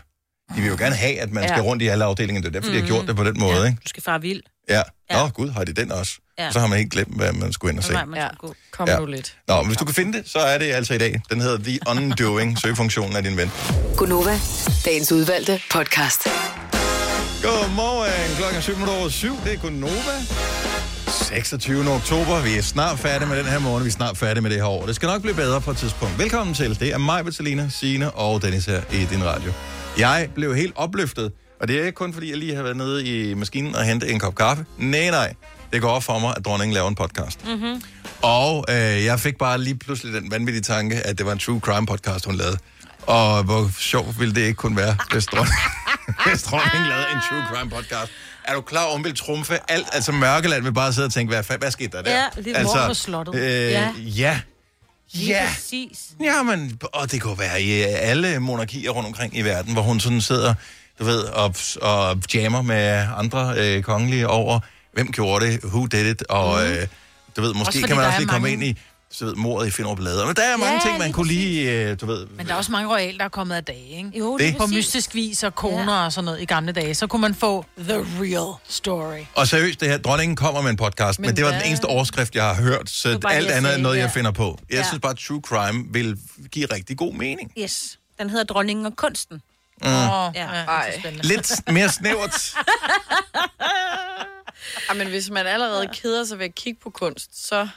S1: de vil jo gerne have, at man skal
S2: Ja.
S1: rundt i alle afdelingerne. Det er derfor, mm. de har
S2: Mhm.
S1: gjort det på den måde, ja. ikke?
S2: Du skal fare vild.
S1: Ja. Nå, gud, har de den også?
S2: Ja.
S1: Ja. Så har man helt glemt, hvad man skulle ind og se.
S2: Nej, man ja. gå.
S4: Kom
S1: Ja.
S4: nu lidt.
S1: Nå, men hvis du kan finde det, så er det altså i dag. Den hedder The Undoing, søgefunktionen af din ven.
S5: Gunova, dagens udvalgte podcast.
S1: Godmorgen, klokken er 7 minutter over 7. Det er Gunova. 26. oktober. Vi er snart færdige med den her morgen. Vi er snart færdige med det her år. Det skal nok blive bedre på et tidspunkt. Velkommen til. Det er mig, Vitalina, Signe og Dennis her i din radio. Jeg blev helt opløftet, og det er ikke kun fordi, jeg lige har været nede i maskinen og hentet en kop kaffe. Nej, nej. Det går op for mig, at dronningen laver en podcast.
S12: Mm-hmm.
S1: Og øh, jeg fik bare lige pludselig den vanvittige tanke, at det var en true crime podcast, hun lavede. Og hvor sjovt ville det ikke kunne være, hvis dronning, hvis dronning lavede en true crime podcast. Er du klar over, hun ville trumfe alt? Altså Mørkeland vil bare sidde og tænke, hvad, fa- hvad skete der der?
S2: Ja, lidt mor på slottet.
S1: Øh,
S2: Ja.
S1: ja. ja.
S2: Lige
S1: Ja.
S2: præcis.
S1: Jamen, og det kunne være i øh, alle monarkier rundt omkring i verden, hvor hun sådan sidder, du ved, og, og jammer med andre øh, kongelige over, hvem gjorde det, who did it, og øh, du
S3: Mhm.
S1: ved,
S3: Også
S1: måske
S3: fordi
S1: kan man
S3: der
S1: også
S3: er
S1: lige komme
S3: mange-
S1: ind i, så ved, mordet i Finderup Lader. Men der er mange
S3: Ja,
S1: ja, ting, man
S3: lige
S1: kunne lige, øh, du ved...
S3: Men der er også mange royal, der er kommet af dage, ikke?
S2: Jo,
S1: lige Det.
S3: På
S1: præcis.
S3: mystisk vis og koner ja. og sådan noget i gamle dage. Så kunne man få the real story.
S1: Og seriøst, det her, dronningen kommer med en podcast, men,
S3: Men
S1: men det var
S3: hvad-
S1: den eneste overskrift, jeg har hørt, så
S2: var bare
S1: alt
S2: det, jeg
S1: andet er
S2: sagde,
S1: noget,
S2: ja.
S1: jeg finder på. Jeg
S2: Ja.
S1: synes bare, at true crime vil give rigtig god mening.
S2: Yes. Den hedder Dronningen og kunsten.
S1: Mm.
S2: ja.
S4: Ej.
S1: Lidt mere snævert.
S4: Ej, men hvis man allerede keder sig ved at kigge på kunst, så...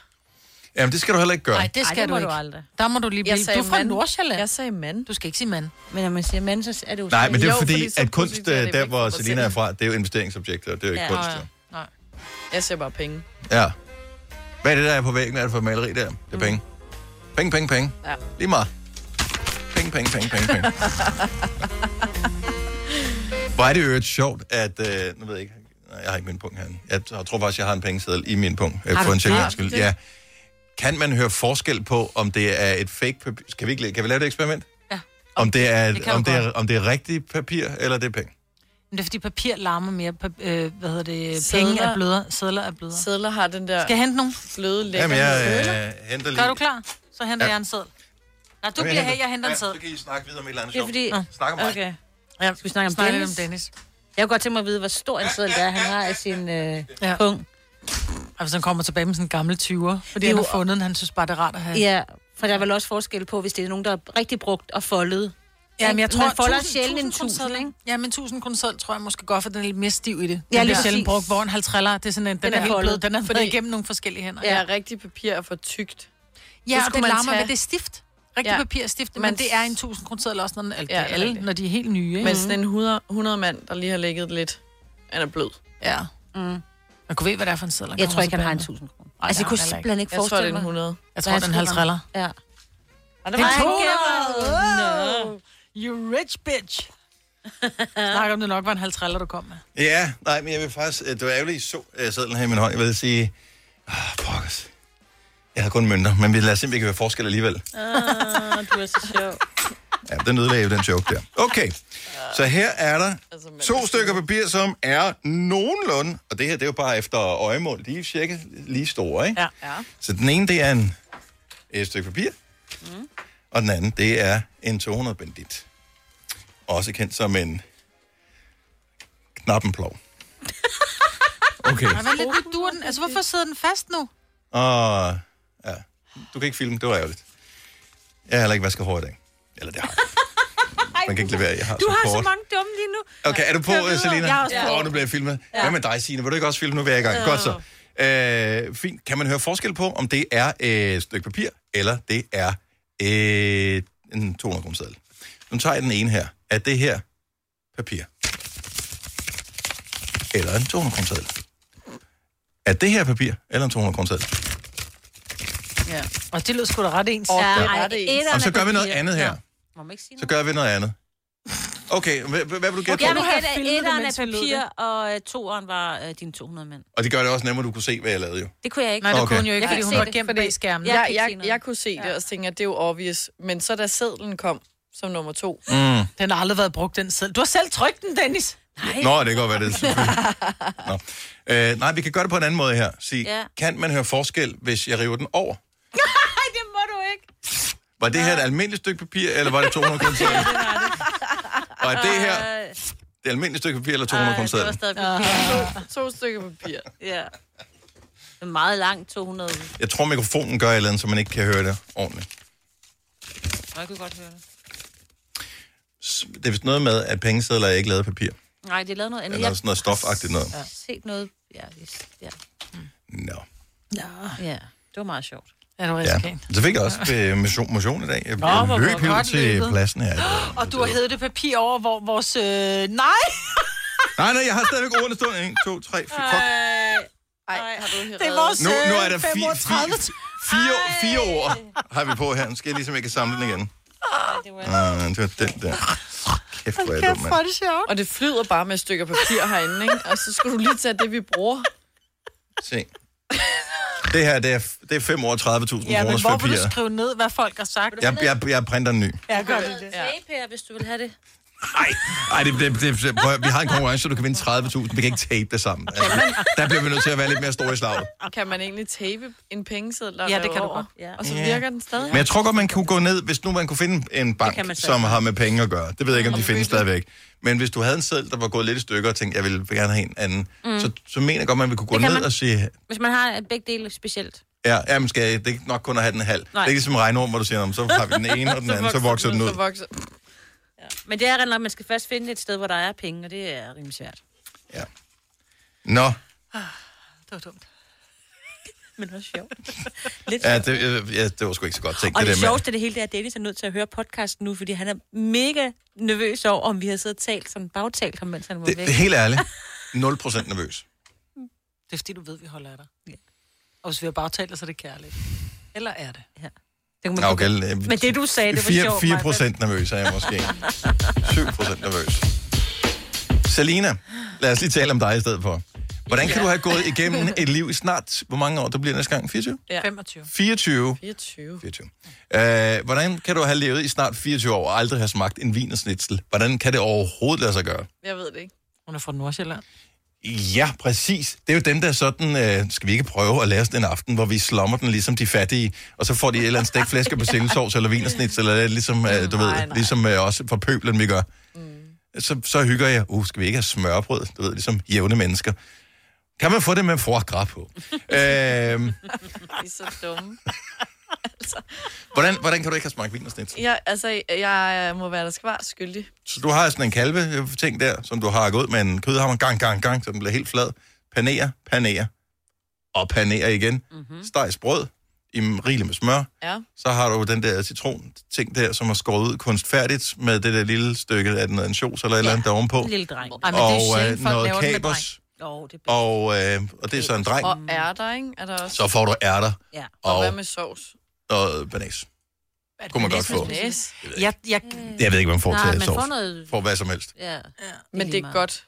S1: Jamen, det skal du heller ikke gøre.
S3: Nej, det skal
S4: Ej, det
S3: du
S4: må
S3: ikke.
S4: du aldrig.
S3: Der må du lige blive.
S4: Jeg sagde
S3: Du er fra
S4: mand.
S3: Nordsjælland.
S4: Jeg sagde mand.
S3: Du skal ikke sige mand.
S2: Men når man siger mand, så er det jo...
S1: Nej, men det er jo,
S4: Jo,
S1: fordi,
S4: fordi så
S1: at kunst,
S4: prostituerer det
S1: øh, der
S4: væk
S1: hvor
S4: fra sig
S1: Selina
S4: selv.
S1: er fra, det er jo investeringsobjekter, det er jo ikke kunst. jo.
S4: Nej. Jeg ser bare penge.
S1: Ja. Hvad er det, der er på væggen? Hvad er det for et maleri der? Det er penge. Penge, penge, penge.
S4: Ja.
S1: Lige meget. Penge, penge, penge, penge, penge. Hvor er det jo et sjovt, at... Øh, nu ved jeg ikke... Nej, jeg har ikke min punkt herinde. Jeg t- jeg tror faktisk, jeg har en pengeseddel i min punkt. Øh,
S7: Har
S1: for
S7: du
S1: en
S7: det?
S1: sikker skyld.
S7: Har du det?
S1: Ja. Kan man høre forskel på, om det er et fake papir... Kan vi, ikke, la- kan vi lave det eksperiment?
S3: Ja.
S1: Om det er,
S3: Det
S1: det
S3: kan
S1: om,
S3: du
S1: det er, om det er rigtigt papir, eller det er penge?
S3: Men det er fordi papir larmer mere. Pap- øh, hvad hedder det?
S4: Sedler.
S3: Penge er blødere. Sædler er blødere.
S4: Sædler har den der...
S3: Skal jeg hente nogen?
S4: Fløde lækker.
S1: Jamen, jeg øh, henter lige...
S3: Gør du klar? så henter
S1: Ja.
S3: ja. jeg en seddel. Nej, du
S1: Jamen,
S3: bliver
S1: jeg
S3: her,
S1: henter-
S3: jeg henter en
S1: Ja,
S3: seddel.
S1: Så kan I snakke videre om et eller andet
S2: Det er
S1: sjovt.
S2: fordi...
S1: Snak om mig.
S2: Okay. Ja, skal vi snakke om
S3: Snakke
S2: Dennis?
S3: om Dennis.
S2: Jeg kunne godt tænke mig at vide, hvor stor en seddel det er, han har af sin øh, ja. pung.
S3: Og hvis han kommer tilbage med sådan en gammel 20'er, fordi
S2: Det er
S3: han har
S2: jo-
S3: fundet den, han synes bare, det er rart at have.
S2: Ja, for der er vel også forskel på, hvis det er nogen, der er rigtig brugt og foldet.
S3: Ja, men jeg tror,
S2: man folder
S3: tusind-
S2: sjældent en
S3: tusind
S2: tusind,
S3: kroner
S2: ikke?
S3: seddel. Ja, men 1000 kroner seddel tror jeg måske godt, for den er lidt mere stiv i det.
S2: Ja,
S3: Ja, den
S2: lige
S3: er sjældent brugt,
S2: præcis.
S3: hvor en 50'er, det er sådan en, den
S2: Den
S3: er,
S2: er
S3: helt blød,
S2: foldet.
S3: den er
S4: Fordi-
S3: været igennem nogle forskellige hænder.
S4: Ja, rigtig papir er for tykt.
S3: Ja,
S4: Så
S3: og
S4: skulle
S3: det
S4: man
S3: larmer,
S4: tage-
S3: men det er stift. Rigtig
S4: Ja.
S3: ja. papir er stift, men,
S4: Man-
S3: det er en 1000 kroner seddel også, når, den, eller,
S4: Ja,
S3: ja,
S4: det er
S3: alle,
S4: rigtigt.
S3: når de er helt nye. Ikke?
S4: Men sådan en 100, 100 mand, der lige har ligget lidt, han er blød.
S3: Ja. Mm. Man kunne ved, hvad det er for en seddel.
S2: Jeg tror ikke, han har en 1000 kroner. Altså, jeg kunne simpelthen ikke
S4: Jeg tror, det er
S2: forestille
S4: en
S2: mig.
S4: 100.
S3: Jeg tror, det er en halv triller.
S2: Ja. Og
S3: Det er 200! Wow. You rich bitch! Snakker om det nok var en halv triller, du kom med.
S1: Ja, nej, men jeg vil faktisk... øh, Det var ærgerligt, I så øh, sædlen her i min hånd. Jeg vil sige... Ah, pokkers. Jeg havde kun mønter, men vi lader simpelthen ikke være forskel alligevel.
S2: Ah, du er så sjov.
S1: Ja, den ødelagde jo den joke der. Okay, så her er der to stykker papir, som er nogenlunde, og det her det er jo bare efter øjemål, de er cirka lige store, ikke?
S3: Ja.
S1: Så den ene, det er en, et stykke papir, mm. og den anden, det er en 200-bandit. Også kendt som en knappenplov. Okay.
S3: Ej, hvad lidt du den? Altså, hvorfor sidder den fast nu?
S1: Og ja, du kan ikke filme, det var ærgerligt. Jeg har heller ikke vasket hår i dag. Eller det har jeg. Man kan ikke levere, jeg har
S2: Du
S1: så
S2: har
S1: kort.
S2: så mange dumme lige nu.
S1: Okay, er du på,
S2: Kør
S1: øh,
S2: videre.
S1: Selina?
S2: Jeg er også på.
S1: Åh, nu bliver jeg filmet.
S2: Ja.
S1: Hvad med dig, Signe? Vil du ikke også filme? Nu vil jeg i gang. Godt så. Øh, fint. Kan man høre forskel på, om det er øh, et stykke papir, eller det er øh, en 200 kroner seddel? Nu tager jeg den ene her. Er det her papir? Eller en 200 kroner seddel? Er det her papir, eller en 200 kroner seddel?
S3: Ja. Og det lød sgu da ret ens.
S2: Ja,
S1: det
S2: ej, etteren
S1: Og så
S2: er
S1: gør vi noget
S2: papir.
S1: andet her.
S2: Må man ikke sige
S1: Så gør vi noget andet. Okay, hvad, hvad vil du gætte
S2: Okay, jeg
S1: på?
S2: vil
S3: have
S2: gætte, at
S3: filmet det,
S2: etteren
S3: mens
S2: er
S3: vi lød
S2: papir, og øh, toeren var øh, dine 200 mænd.
S1: Og det gør det også nemmere, at du kunne se, hvad jeg lavede jo.
S2: Det kunne jeg ikke.
S3: Nej, det
S1: Okay.
S3: kunne hun jo ikke,
S2: Jeg
S3: fordi
S2: kan
S3: hun
S2: se
S3: var
S2: det,
S3: gemt bag skærmen.
S2: Jeg
S4: Jeg,
S2: kan ikke se
S4: jeg,
S2: noget.
S4: jeg kunne se det, og så tænkte jeg, det er jo obvious. Men så da sedlen kom som nummer to,
S1: Mm.
S3: Den har aldrig været brugt, den selv. Du har selv trykt den, Dennis.
S1: Nå, det kan godt være det. er selvfølgelig. Nå. Øh, nej, vi kan gøre det på en anden måde her. Sig, ja.
S2: Ja.
S1: kan man høre forskel, hvis jeg river den over?
S2: Nej, det må du ikke.
S1: Var det her et almindeligt stykke papir, eller var det 200 kroner seddel? Og er det her det almindelige stykke papir, eller 200 kroner
S2: Øh. det var
S1: seddel?
S2: stadig papir.
S4: to stykker papir.
S2: Ja. Det er meget langt, 200.
S1: Jeg tror, mikrofonen gør et eller andet, så man ikke kan høre det ordentligt.
S2: Nå, jeg kunne godt høre det.
S1: S- Det er vist noget med, at pengesedler er ikke lavet af papir.
S2: Nej, det er lavet noget andet.
S1: Eller sådan noget stofagtigt noget.
S2: Jeg har set noget... Ja, det- ja.
S1: Nå.
S2: ja. det var meget sjovt.
S3: Ja, det var
S1: Ja.
S3: rigtig Altså, ja.
S1: Så fik jeg også øh, motion, motion i dag. Jeg
S3: Nå, hvor- hvor
S1: løb helt ud
S3: godt
S1: til
S3: løbet.
S1: pladsen her.
S3: Og du har hævet det papir over, hvor vores... Øh, nej!
S1: Nej, nej, jeg har stadigvæk ordene stående. 1, 2, 3, 4. Fuck.
S4: Ej, har du
S3: Det er vores
S1: Nu, nu er
S3: øh,
S1: der fire,
S3: 35.
S1: fire, fire, fire ord, har vi på her. Nu skal jeg ligesom ikke samle den igen. Nej, det var den der. Kæft, hvor er jeg dum,
S3: Kæft,
S1: mand.
S3: hvor er det sjovt.
S4: Og det flyder bare med stykker papir herinde, ikke? Og så skulle du lige tage det, vi bruger.
S1: Se. Det her, det er, det er 5 år 30.000
S3: Ja, men
S1: kroners
S3: hvor vil
S1: papir.
S3: du skrive ned, hvad folk har sagt?
S1: Jeg, jeg, jeg printer en ny.
S3: Ja, gør det.
S2: Ja. Tape her, hvis du vil have det.
S1: Nej, nej det, det, det, prøv, at- vi har en konkurrence, så du kan vinde 30.000. Vi kan ikke tape det sammen. Altså, der bliver vi nødt til at være lidt mere store i slaget.
S4: Kan man egentlig tape en pengeseddel
S3: Ja, det kan du godt.
S2: Ja.
S4: Og så
S1: Ja.
S4: virker den stadig.
S1: Men jeg tror godt, man kunne gå ned, hvis nu man kunne finde en
S2: kan
S1: bank,
S2: man så.
S1: som har med penge at gøre. Det ved jeg ikke, om de findes stadigvæk. Men hvis du havde en seddel, der var gået lidt i stykker, og tænkte, jeg ville gerne have en anden, mm. så, så mener jeg godt, man ville kunne gå
S2: Det kan
S1: ned
S2: man.
S1: og sige,
S2: Hvis man har øh, begge dele specielt.
S1: ja, jamen skal jeg, det er ikke nok kun at have den halv. Det er ikke ligesom regnorm, hvor du siger, "Nå, men så har vi den ene og den anden, så vokser den
S4: Så
S1: ud.
S4: vokser.
S2: Men det er rent nok, man skal først finde et sted, hvor der er penge, og det er rimelig svært.
S1: Nå,
S3: Det var dumt.
S2: Men også sjovt. Lidt
S1: ja,
S2: sjovt.
S1: det, øh, ja, det var sgu ikke så godt tænkt.
S2: Og det, det
S1: der med-
S2: sjoveste af det hele, det er, at Dennis er nødt til at høre podcasten nu, fordi han er mega nervøs over, om vi har siddet og talt, sådan bagtalt ham, mens han var
S1: det,
S2: væk.
S1: det, er helt ærligt. 0% nervøs.
S3: Det er fordi, du ved, vi holder af dig. Ja. Og hvis vi har bagtalt, så er det kærligt. Eller er det?
S2: det kunne
S1: Nå,
S2: man
S1: Okay,
S2: okay.
S1: øh,
S2: Men det, du sagde, det var
S1: 4,
S2: sjovt.
S1: 4
S2: Maja.
S1: procent nervøs er jeg måske. 7 procent nervøs. Selina, lad os lige tale om dig i stedet for. Hvordan kan du have gået igennem et liv i snart, hvor mange år, du bliver næste gang? 24?
S4: Ja.
S3: 25.
S1: 24.
S4: 24.
S1: 24. Øh, hvordan kan du have levet i snart 24 år og aldrig have smagt en vinersnitzel? Hvordan kan det overhovedet lade sig gøre?
S4: Jeg ved det ikke.
S3: Hun er fra Nordsjælland.
S1: Ja, præcis. Det er jo dem, der er sådan, øh, skal vi ikke prøve at lave sådan en aften, hvor vi slummer den ligesom de fattige, og så får de et eller andet stegt flæske på sillesovs eller vinersnits, eller øh, ligesom, øh, du ved, ligesom øh, også for pøblen, vi gør. Mm. Så, så hygger jeg, uh, skal vi ikke have smørbrød, du ved, ligesom jævne mennesker. Kan man få det med foie gras på? øhm,
S4: De er så dumme. altså,
S1: hvordan, hvordan kan du ikke have smagt vinersnits?
S4: jeg, altså, jeg må være der skvar skyldig.
S1: Så du har sådan en kalve-ting der, som du har gået med en kødhammer gang, gang, gang, så den bliver helt flad. Panerer, panerer, og panerer igen. Mm-hmm. Stejs brød, i rigeligt med smør.
S4: Ja.
S1: Så har du den der citron-ting der, som er skåret ud kunstfærdigt med det der lille stykke af den ansjos eller et eller andet der ovenpå.
S2: En lille dreng.
S1: Ej, men det er Og, øh, sjældent, folk noget laver den med kapers.
S2: Jo, det
S1: Og, øh, og det er så en dreng.
S4: Og ærter, ikke? Er der også?
S1: Så får du ærter
S2: Ja.
S4: Og,
S1: Og-
S4: hvad med sovs?
S1: og banas. Kunne man godt få.
S4: Næs.
S3: Jeg, jeg,
S1: Jeg ved ikke, hvad man får
S3: Nej,
S1: til
S3: man
S1: sovs.
S3: får noget-
S1: Får hvad som helst.
S2: ja.
S4: Men det er godt.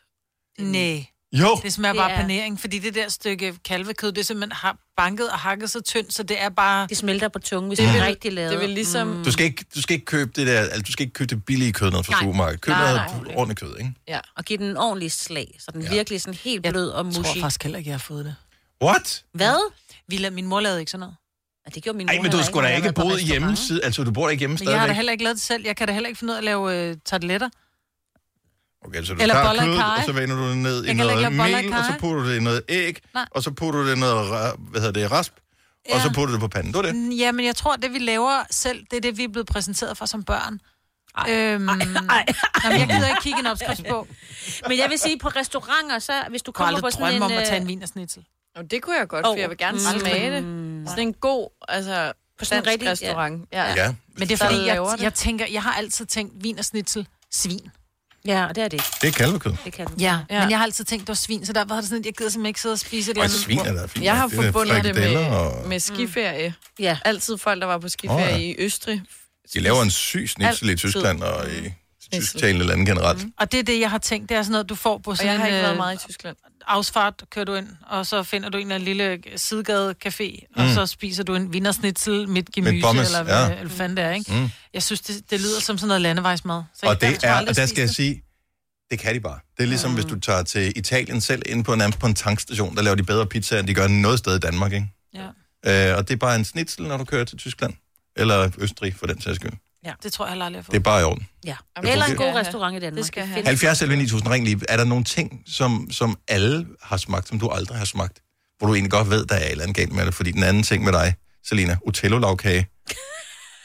S3: Nej.
S1: Jo.
S3: Det smager bare panering, fordi det der stykke kalvekød, det er simpelthen har banket og hakket så tyndt, så det er bare...
S2: Det smelter på tungen, hvis det er rigtig lavet.
S4: Det vil ligesom... Mm.
S1: Du skal, ikke, du skal ikke købe det der, altså, du skal ikke købe det billige kød ned fra
S2: Nej.
S1: supermarkedet. Køb
S2: Nej,
S1: noget
S2: nej.
S1: ordentligt kød, ikke?
S4: Ja.
S2: Og give den en ordentlig slag, så den ja. virkelig sådan helt blød og mushy.
S3: Jeg tror faktisk heller ikke, jeg har fået det.
S1: What?
S2: Hvad?
S3: Vi lavede, min mor lavede ikke sådan noget.
S2: Ja, det gjorde min
S1: Ej, men du skulle da ikke boet hjemme, side- altså du bor da ikke hjemme
S3: Men jeg har da
S1: stadigvæk.
S3: heller ikke lavet det selv. Jeg kan da heller ikke finde ud af at lave øh, tarteletter.
S1: Okay, så du
S3: Eller
S1: tager
S3: boller i
S1: kødet,
S3: karry.
S1: og så vender du det ned i
S3: Jeg kan heller
S1: noget
S3: ikke lave boller i
S1: mel, og så
S3: karry.
S1: putter du det i noget æg,
S3: Nej.
S1: og så putter du det i noget, ra- hvad hedder det, rasp, og så putter du det på panden. Det var det.
S3: Ja, men jeg tror, det vi laver selv, det er det, vi er blevet præsenteret for som børn. Ej, øhm, ej, ej, ej. Jeg gider ikke kigge en opskrift på.
S2: Men jeg vil sige, på restauranter, så hvis du
S3: Jeg kunne
S2: kommer på
S3: aldrig
S2: sådan
S3: drømme
S2: en...
S3: om at tage
S2: øh,
S3: en vinersnitzel.
S4: Og det kunne jeg godt, for
S2: Åh,
S4: jeg vil gerne
S2: mm.
S4: smage det. Sådan en god, altså, på
S2: sådan en
S4: sådan dansk
S2: rigtig-
S4: rigtig, restaurant. Ja.
S1: Ja.
S3: Men det
S4: Der
S3: er fordi,
S4: laver
S3: jeg,
S4: det.
S3: jeg tænker, jeg har altid tænkt vinersnitzel, svin.
S2: Ja, det er det ikke.
S1: Det er kalvekød.
S2: Det kan du.
S3: Ja, ja, men jeg har altid tænkt, det var svin, så der var det sådan, at jeg gider simpelthen ikke sidde og spise et
S1: Og et svin er da fint.
S4: Jeg har
S1: Det er
S4: forbundet det med,
S1: frikadeller og-
S4: med skiferie.
S2: Ja.
S4: Altid folk, der var på skiferie
S1: Åh, ja.
S4: oh, ja. i Østrig.
S1: De laver en syg snitsel i
S4: Altid.
S1: Tyskland og
S3: Mm.
S1: i tysktalende lande generelt.
S3: Og det er det, jeg har tænkt, det er sådan noget, du får på
S4: Og jeg
S3: sådan
S4: har ikke været
S3: øh,
S4: meget i Tyskland.
S3: afsfart, kører du ind, og så finder du en eller anden lille sidegade-café, mm. og
S1: Mm.
S3: så spiser du en vinersnitzel midt
S1: Med
S3: gemyse,
S1: pommes,
S3: eller
S1: ja.
S3: hvad ja. fanden det er, ikke?
S1: Mm.
S3: Mm. Jeg synes, det, det lyder som sådan noget landevejsmad. Så
S1: Og
S3: jeg-
S1: det
S3: jeg tror
S1: er,
S3: aldrig,
S1: og der
S3: jeg
S1: skal jeg
S3: spiste
S1: sige, det kan de bare. Det er ligesom, hvis du tager til Italien selv, ind på en, nærmest på en tankstation, der laver de bedre pizza, end de gør noget sted i Danmark, ikke?
S3: Ja.
S1: Øh, og det er bare en snitsel, når du kører til Tyskland. Eller Østrig, for den sags skyld.
S3: det. Ja, det tror jeg heller aldrig, jeg har
S1: Det er
S3: fået.
S1: bare i orden.
S2: Ja.
S1: Det
S2: Eller en
S1: fungerer.
S2: god restaurant i Danmark. Det
S4: skal jeg
S2: findes.
S4: have.
S1: 70 eller 9000, ring lige. Er der nogle ting, som, som alle har smagt, som du aldrig har smagt? Hvor du egentlig godt ved, der er et eller andet galt med det. Fordi den anden ting med dig, Selina, Otello-lavkage,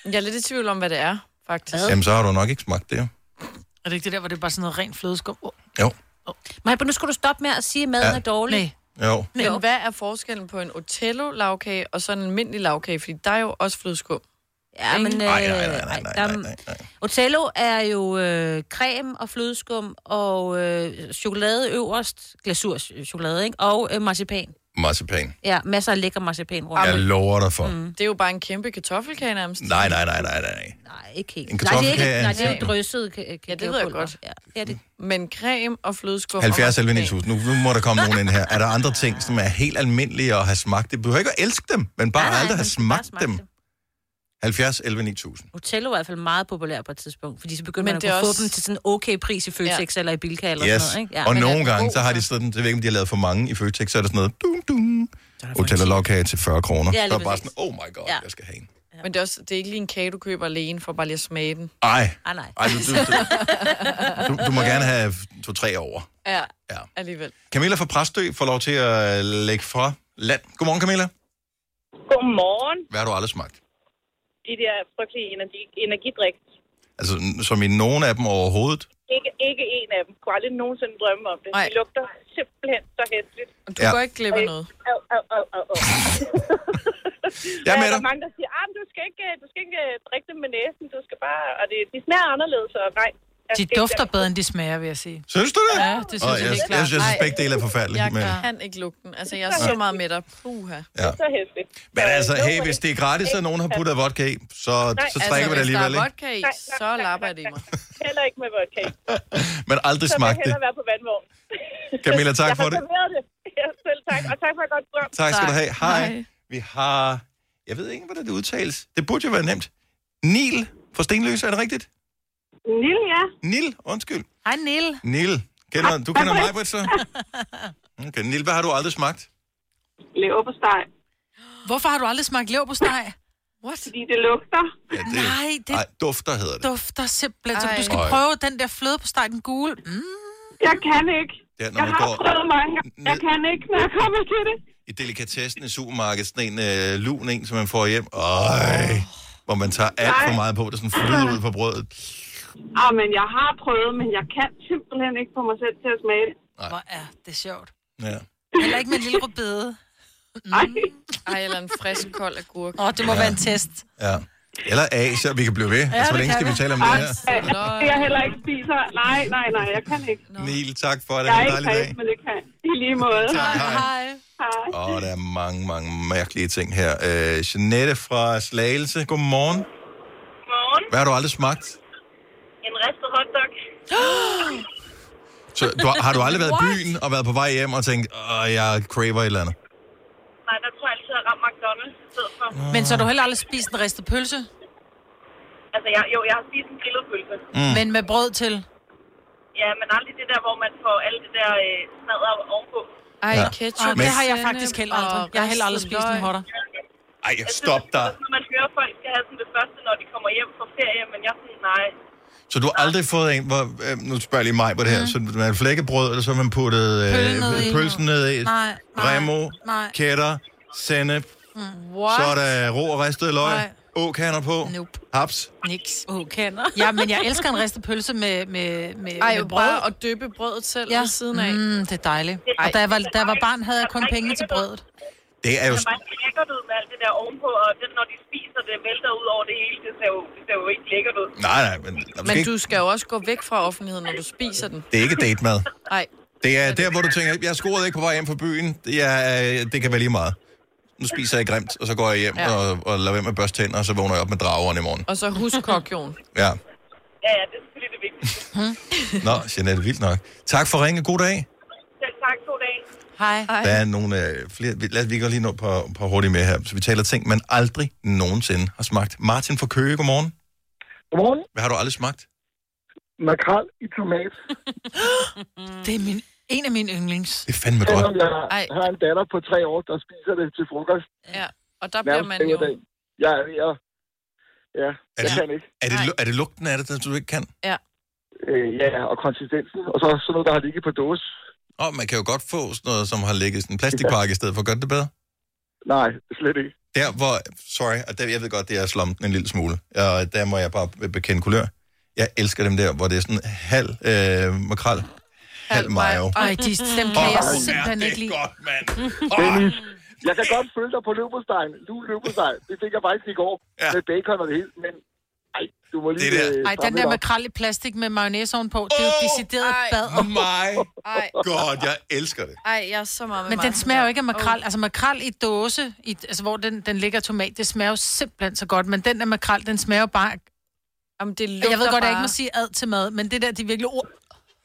S4: Jeg er lidt i tvivl om, hvad det er, faktisk.
S1: jamen så har du nok ikke smagt det, jo.
S3: Er det ikke det der, hvor det er bare sådan noget rent flødeskum? Oh,
S1: Jo,
S2: Maja, nu skal du stoppe med at sige, at maden
S1: Ja.
S2: er dårlig.
S3: nej.
S1: jo.
S4: Men hvad er forskellen på en Otello-lavkage og sådan en almindelig lavkage? Fordi der er jo også flødeskum.
S2: Ja, men... øh,
S1: Nej, nej, nej, nej, nej,
S2: der-
S1: nej, nej, nej.
S2: Otello er jo øh, creme og flødeskum og øh, chokolade øverst, glasurchokolade, ikke? Og øh, marcipan.
S1: Marcipan.
S2: Ja, masser af lækker marcipan rundt.
S1: Jeg lover dig for.
S4: Det er jo bare en kæmpe kartoffelkage nærmest.
S1: Nej, nej, nej, nej, nej.
S2: Nej, ikke helt.
S1: En
S2: nej, det er ikke,
S1: kartoffelkage-
S2: nej, det er jo drysset ka-
S4: Ja, det ved jeg godt.
S2: Ja, det er det.
S4: Men creme og flødeskum... og
S1: 70 eller
S4: marcipan.
S1: 9000. Nu, nu må der komme nogen ind her. Er der andre ting, som er helt almindelige at have smagt dem? Du behøver ikke at elske dem, men bare
S2: Nej, nej,
S1: aldrig have
S2: man skal bare
S1: smagt
S2: smage
S1: dem.
S2: dem.
S1: 70 11 9000.
S2: Otello var i hvert fald meget populær på et tidspunkt, fordi så begyndte
S4: Men
S2: man at
S4: det
S2: kunne
S4: er
S2: også...
S4: også-
S2: få dem til sådan en okay pris i Føtex ja. eller i Bilka eller
S1: Yes.
S2: sådan noget. Ikke?
S1: og
S2: men er
S1: nogle
S2: den
S1: gange,
S2: god,
S1: så har de sådan, det ved jeg ikke, om de har lavet for mange i Føtex, så er der sådan noget, dum, dum, hotel og lavkage til 40 kroner.
S2: Ja,
S1: Ja,
S2: lige
S1: så er det bare
S2: præcis.
S1: sådan, oh my god, ja.
S2: Ja.
S1: jeg skal have en.
S4: Men det er, også, det er ikke lige en kage, du køber alene for bare lige at smage den.
S1: Ej,
S2: Ah, nej.
S1: ej du, du, du, du, du må gerne have to-tre over.
S4: Ja,
S1: Ja.
S4: alligevel.
S1: Camilla fra Præstø får lov til at lægge fra land. Godmorgen, Camilla.
S12: Godmorgen.
S1: Hvad har du aldrig smagt?
S12: De der frygtelige energi, energidrik.
S1: Altså, n- som i nogen af dem overhovedet.
S12: Ikke, ikke en af dem. Kunne aldrig nogensinde drømme om det.
S4: Nej.
S12: De lugter simpelthen så hæsligt.
S4: Du
S1: Ja.
S4: ja. går ikke glip af noget.
S12: Au, au, au, au, au.
S1: Jeg er
S12: Der
S1: med
S12: er
S1: dig.
S12: der mange, der siger, at du skal ikke, du skal ikke øh, drikke dem med næsen. Du skal bare... Og det, de smager anderledes, og nej. Altså, jeg
S3: De
S12: skal ikke-
S3: dufter bedre, end de smager, vil jeg sige.
S1: Synes du det?
S3: Ja, det synes
S1: Åh,
S3: jeg helt
S1: jeg,
S3: klart.
S1: jeg, synes,
S4: Nej.
S1: at begge dele er forfærdelige.
S4: Jeg
S1: Men,
S4: kan ikke lugte den. Altså, jeg er så meget med dig. Puha.
S1: ja.
S12: Så hæsligt.
S1: men altså,
S12: Øh,
S1: hey, hvis det er gratis, og nogen har puttet vodka i, så, så trækker vi det
S4: altså, hvis der
S1: alligevel,
S4: er
S1: ikke?
S4: vodka i,
S12: Nej, nej,
S4: så
S12: nej,
S4: lapper
S12: nej,
S4: det i mig.
S12: Heller ikke med vodka. i.
S1: Men aldrig
S12: Så vil jeg
S1: smagt det.
S12: hellere være på vandvogn.
S1: Camilla, tak
S12: jeg
S1: for
S12: har
S1: det.
S12: serveret det. Ja, selv tak. Og tak for et godt program.
S1: Tak skal du have. Hej.
S4: Hej.
S1: Vi har... Jeg ved ikke, hvordan det udtales. Det burde jo være nemt. Nil fra Stenløse, er det rigtigt?
S12: Nille, ja.
S1: Nil, undskyld.
S3: Hej, Niel.
S1: Nil. Kender, du kender mig, Britt, så? Okay, Niel, hvad har du aldrig smagt?
S12: Leverpostej.
S3: Hvorfor har du aldrig smagt leverpostej?
S12: What? Fordi det lugter.
S1: Ja, det,
S3: Nej, det
S1: Ej, dufter hedder det.
S3: dufter simpelthen. Så du skal
S1: Ej.
S3: prøve den der flødepostej, den gule. Mm.
S12: Jeg kan ikke.
S1: Det er, når
S12: Jeg
S1: man
S12: har
S1: går
S12: prøvet mange gange. Jeg kan ikke, når jeg kommer til det.
S1: i delikatessen i supermarkedet, sådan en øh, lun en, som man får hjem. Øj, hvor man tager alt for meget på, der sådan flyder ud på brødet.
S12: Ah, men jeg har prøvet, men jeg kan simpelthen ikke få mig selv til at smage det.
S3: Hvor er det sjovt.
S1: Ja.
S3: Heller ikke med en lille rødbede.
S12: Ej.
S4: Ej, eller en frisk, kold agurk.
S3: Åh, det må ja. være en test.
S1: Ja. Eller Asia, vi kan blive ved. Ja, altså, hvor
S12: det
S1: længe
S12: kan
S1: skal vi
S12: vi.
S1: tale om det her?
S12: Ej, det jeg heller ikke spiser. Nej, nej, nej, jeg kan ikke.
S1: Niel, tak for det.
S12: Jeg er
S1: Ha' en
S12: ikke
S1: dejlig dag.
S12: kreds, men det kan. I lige måde.
S1: Tak, hej.
S12: Hej. Hej.
S1: Åh, der er mange, mange mærkelige ting her. Øh, Jeanette fra Slagelse, godmorgen.
S12: Morgen.
S1: Hvad har du aldrig smagt?
S12: En ristet hotdog.
S1: Så, du, har- har du aldrig været i
S12: What?
S1: byen og været på vej hjem og tænkt, åh, jeg craver et eller andet?
S12: Nej, der tror jeg altid, at jeg rammer McDonald's i stedet for.
S3: Men så har du heller aldrig spist en ristet pølse,
S12: Altså, jeg, jo, jeg har spist en grillet pølse.
S3: mm. men med brød til.
S12: Ja, men aldrig det der, hvor man får alle det der øh, smadder ovenpå.
S4: Ej,
S1: Ja.
S4: ketchup.
S1: Ej, det har
S3: jeg
S4: sennep
S3: faktisk heller
S4: og
S3: aldrig. Jeg har heller aldrig
S4: ristet
S3: spist en
S4: løg.
S3: hotter.
S1: Ej, stop dig.
S12: Når Altså, man hører, at folk skal have sådan det første, når de kommer hjem fra ferie, men jeg er sådan, nej.
S1: Så du har aldrig fået en, hvor, øh, nu spørger jeg lige mig på det her, mm. så man har flækkebrød, eller så har man puttet
S3: Pølle ned
S1: øh,
S3: i.
S1: pølsen ned i,
S3: Nej, nej,
S1: remo,
S3: nej.
S1: kætter, sennep,
S4: What?
S1: så er der rå og ristet løg,
S3: Nej.
S1: åkander på,
S3: Nope.
S1: haps.
S3: Niks.
S2: Åh, kender.
S3: Ja, men jeg elsker en ristet pølse med, med, med,
S4: Ej,
S3: med
S4: jo,
S3: brød.
S4: bare at døbe brødet selv
S3: Ja.
S4: ved siden af.
S3: Mm, det er dejligt. Og da jeg, var, da jeg var barn, havde jeg kun penge til brødet.
S1: Det er jo
S12: Det er bare lækkert ud med alt det der ovenpå, og det, når de spiser, det vælter ud over det hele. Det ser jo, det ser jo ikke lækkert ud.
S1: Nej, nej, men, der er måske
S4: Men
S1: ikke,
S4: du skal jo også gå væk fra offentligheden, når du spiser den.
S1: det er ikke date-mad.
S4: Nej.
S1: Det er der, hvor du tænker, jeg scorede ikke på vej hjem fra byen, det, er, øh, det kan være lige meget. Nu spiser jeg grimt, og så går jeg hjem ja.
S4: Ja.
S1: og, og lader være med at børste tænder, og så vågner jeg op med drageren i morgen.
S4: Og så husk kokjon.
S1: Ja.
S12: Ja, ja, det er selvfølgelig det vigtigste.
S1: Nå, Jeanette, vildt nok. Tak for ringe. God dag.
S12: Selv tak, god dag.
S3: Hej.
S1: Der er nogle øh, flere... vi- Lad os vi går lige nå på, på hurtigt med her. Så vi taler ting, man aldrig nogensinde har smagt. Martin fra Køge, godmorgen.
S13: Godmorgen.
S1: Hvad har du aldrig smagt?
S13: Makrel i tomat.
S3: Det er min, en af mine yndlings.
S1: Det er fandme godt.
S13: Selvom jeg har en datter på tre år, der spiser det til frokost.
S4: Ja, og der bliver
S13: nærmest
S4: man
S13: hver
S4: jo...
S13: dag. Ja, ja. Ja,
S1: Er
S13: jeg
S1: det-
S13: kan ikke.
S1: Er det, lu- er det lugten af det, der du ikke kan?
S4: Ja.
S13: Øh, ja, og konsistensen. Og så sådan noget, der har ligget på dåse.
S1: Og man kan jo godt få sådan noget, som har ligget i sådan en plastikpakke i stedet for. Gør det det bedre?
S13: Nej, slet ikke.
S1: Der hvor... Sorry, og der, jeg ved godt, det er slumt en lille smule. Og der må jeg bare be- bekende kulør. Jeg elsker dem der, hvor det er sådan halv øh, makrel, halv mayo.
S3: Ej, de, dem kan
S1: Åh,
S3: jeg
S1: hvor er
S3: simpelthen
S1: det
S3: ikke lide.
S1: godt, mand.
S13: Dennis, jeg kan godt følge dig på løbestein. Du løbestein. Det fik jeg faktisk i går ja. med bacon og det hele. Men ej, du må lige...
S1: Det der.
S13: øh,
S3: Ej, den
S13: stramme
S3: der
S13: lidt op.
S3: makrel i plastik med mayonnaise ovenpå, det er jo decideret bad.
S1: My
S4: Ej,
S1: God, jeg elsker det.
S4: ej, jeg er så meget med
S3: Men den
S4: Martin
S3: smager
S4: der.
S3: jo ikke af makrel.
S4: Åh.
S3: Altså makrel i dåse, i, altså hvor den, den ligger i tomat, det smager jo simpelthen så godt. Men den der makrel, den smager jo bare...
S4: Jamen, det
S3: Jeg ved
S4: lugter
S3: godt, at jeg ikke
S4: bare.
S3: må sige ad til mad, men det der, de virkelig... Oh,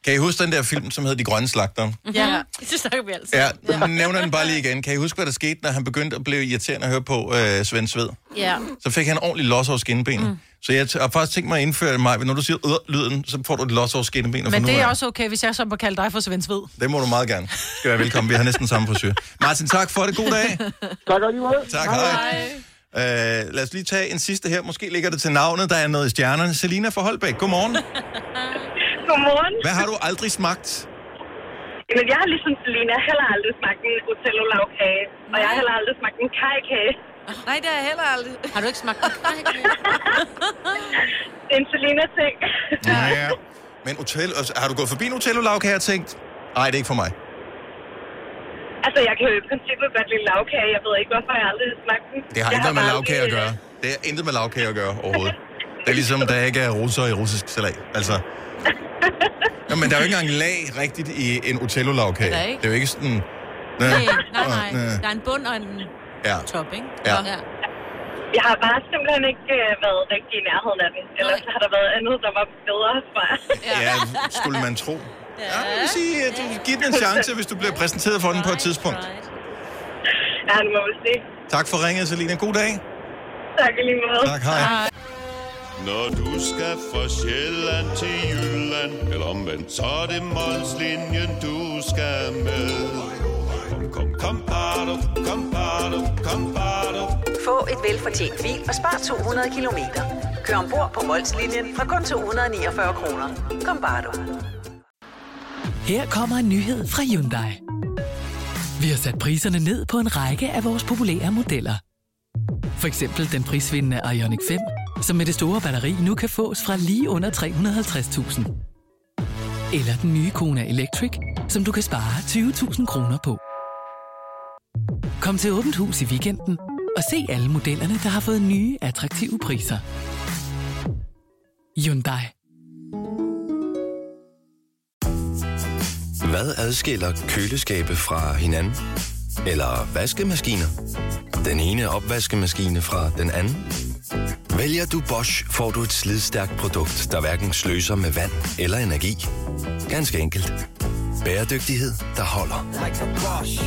S1: Kan I huske den der film, som hedder De Grønne Slagter?
S3: ja.
S2: Det snakker vi altid.
S1: Ja, nu nævner den bare lige igen. Kan I huske, hvad der skete, når han begyndte at blive irriterende at høre på øh, Svend Sved?
S2: Ja.
S1: Så fik han ordentlig los over skinnebenet. Mm. Så jeg t- har faktisk tænkt mig at indføre mig, når du siger øh, lyden, så får du et los over skinnebenet. fra
S3: Men
S1: nu
S3: det er
S1: af.
S3: også okay, hvis jeg så må kalde dig for Svensved.
S1: Det må du meget gerne. Skal være velkommen. Vi har næsten samme frisyr. Martin, tak for det. God dag.
S13: Tak og lige måde.
S1: Tak, hej. Øh, lad os lige tage en sidste her. Måske ligger det til navnet, der er noget i stjernerne. Selina fra Holbæk, godmorgen.
S12: Godmorgen.
S1: Hvad har du aldrig smagt?
S12: Jamen, jeg har ligesom Selina heller aldrig smagt en otello lavkage, og jeg har heller aldrig smagt en kajkage.
S4: Nej, det har jeg heller aldrig.
S2: Har du ikke smagt
S12: Det er en Selina-ting.
S1: Ja. Men hotel, altså, har du gået forbi en hotellolavkage og tænkt, nej, det er ikke for mig.
S12: altså, jeg kan jo i princippet godt lide lavkage. Jeg ved ikke, hvorfor jeg aldrig har smagt den.
S1: Det har
S12: jeg
S1: intet med
S12: bare øh,
S1: lavkage at
S12: aldrig-
S1: gøre. Det har intet med lavkage at gøre overhovedet. Det er ligesom, der ikke er russer i russisk salat. Altså. Nå, men der er jo ikke engang lag rigtigt i en Otello-lavkage.
S2: Der er
S1: Det
S2: ikke.
S1: er jo ikke sådan... Næ,
S2: Nej,
S1: og
S2: nej,
S1: næ.
S2: nej. Der er en bund og en
S1: Ja.
S2: top, ikke?
S1: Ja.
S12: Jeg har bare simpelthen ikke øh, været rigtig i nærheden af den. Ellers har der været andet, der var bedre, tror jeg.
S1: ja, skulle man tro. Ja, jeg vil sige, at du giver den en chance, hvis du bliver præsenteret for den på et tidspunkt.
S12: Ja, nu må vi se.
S1: Tak for ringet, Selina. God dag.
S12: Tak i lige måde.
S1: Tak, hej.
S14: Når du skal fra Sjælland til Jylland Eller omvendt, så er det Molslinjen, du skal med Kom, kom, kom, bado, kom, bado, kom, bado.
S15: Få et velfortjent bil og spar 200 kilometer. Kør ombord på Molslinjen fra kun 249 kroner. Kom bare du.
S16: Her kommer en nyhed fra Hyundai. Vi har sat priserne ned på en række af vores populære modeller. For eksempel den prisvindende Ioniq 5, som med det store batteri nu kan fås fra lige under 350.000. Eller den nye Kona Electric, som du kan spare 20.000 kroner på. Kom til Åbent Hus i weekenden og se alle modellerne, der har fået nye, attraktive priser. Hyundai.
S17: Hvad adskiller køleskabe fra hinanden? Eller vaskemaskiner? Den ene opvaskemaskine fra den anden? Vælger du Bosch, får du et slidstærkt produkt, der hverken sløser med vand eller energi. Ganske enkelt. Bæredygtighed, der holder.
S18: Like a Bosch.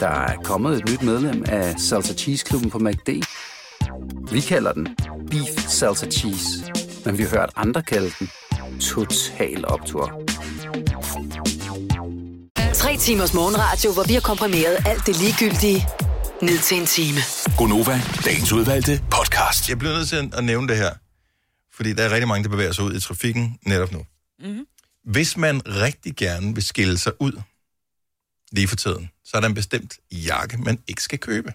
S19: Der er kommet et nyt medlem af Salsa Cheese Klubben på MACD. Vi kalder den Beef Salsa Cheese, men vi har hørt andre kalde den Total Optor.
S5: Tre timers morgenradio, hvor vi har komprimeret alt det ligegyldige ned til en time.
S1: Gonova, dagens udvalgte podcast. Jeg bliver nødt til at nævne det her, fordi der er rigtig mange, der bevæger sig ud i trafikken netop nu.
S2: Mhm.
S20: Mm-hmm.
S1: Hvis man rigtig gerne vil skille sig ud lige for tiden, så er der en bestemt jakke, man ikke skal købe.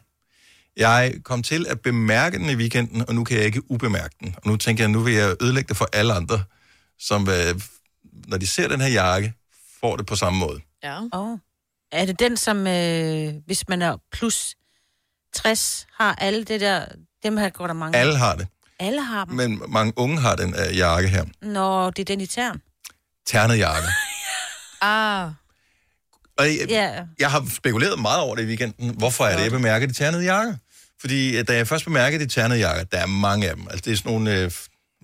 S1: Jeg kom til at bemærke den i weekenden, og nu kan jeg ikke ubemærke den. Og nu tænker jeg, nu vil jeg ødelægge det for alle andre, som øh, når de ser den her jakke, får det på samme måde.
S2: Ja. Oh. Er det den, som, øh, hvis man er plus 60, har alle det der... Dem her går der mange af.
S1: Alle har det,
S2: Alle har dem. Men...
S1: men mange unge har den øh, jakke her.
S2: Nå, det er den i tern.
S1: Ternet jakke.
S2: Ah.
S1: Og øh, jeg,
S2: Ja.
S1: jeg har spekuleret meget over det i weekenden. Hvorfor er det, jeg bemærker de ternede jakker? Fordi øh, da jeg først bemærker de ternede jakker, der er mange af dem. Altså, det er sådan nogle øh,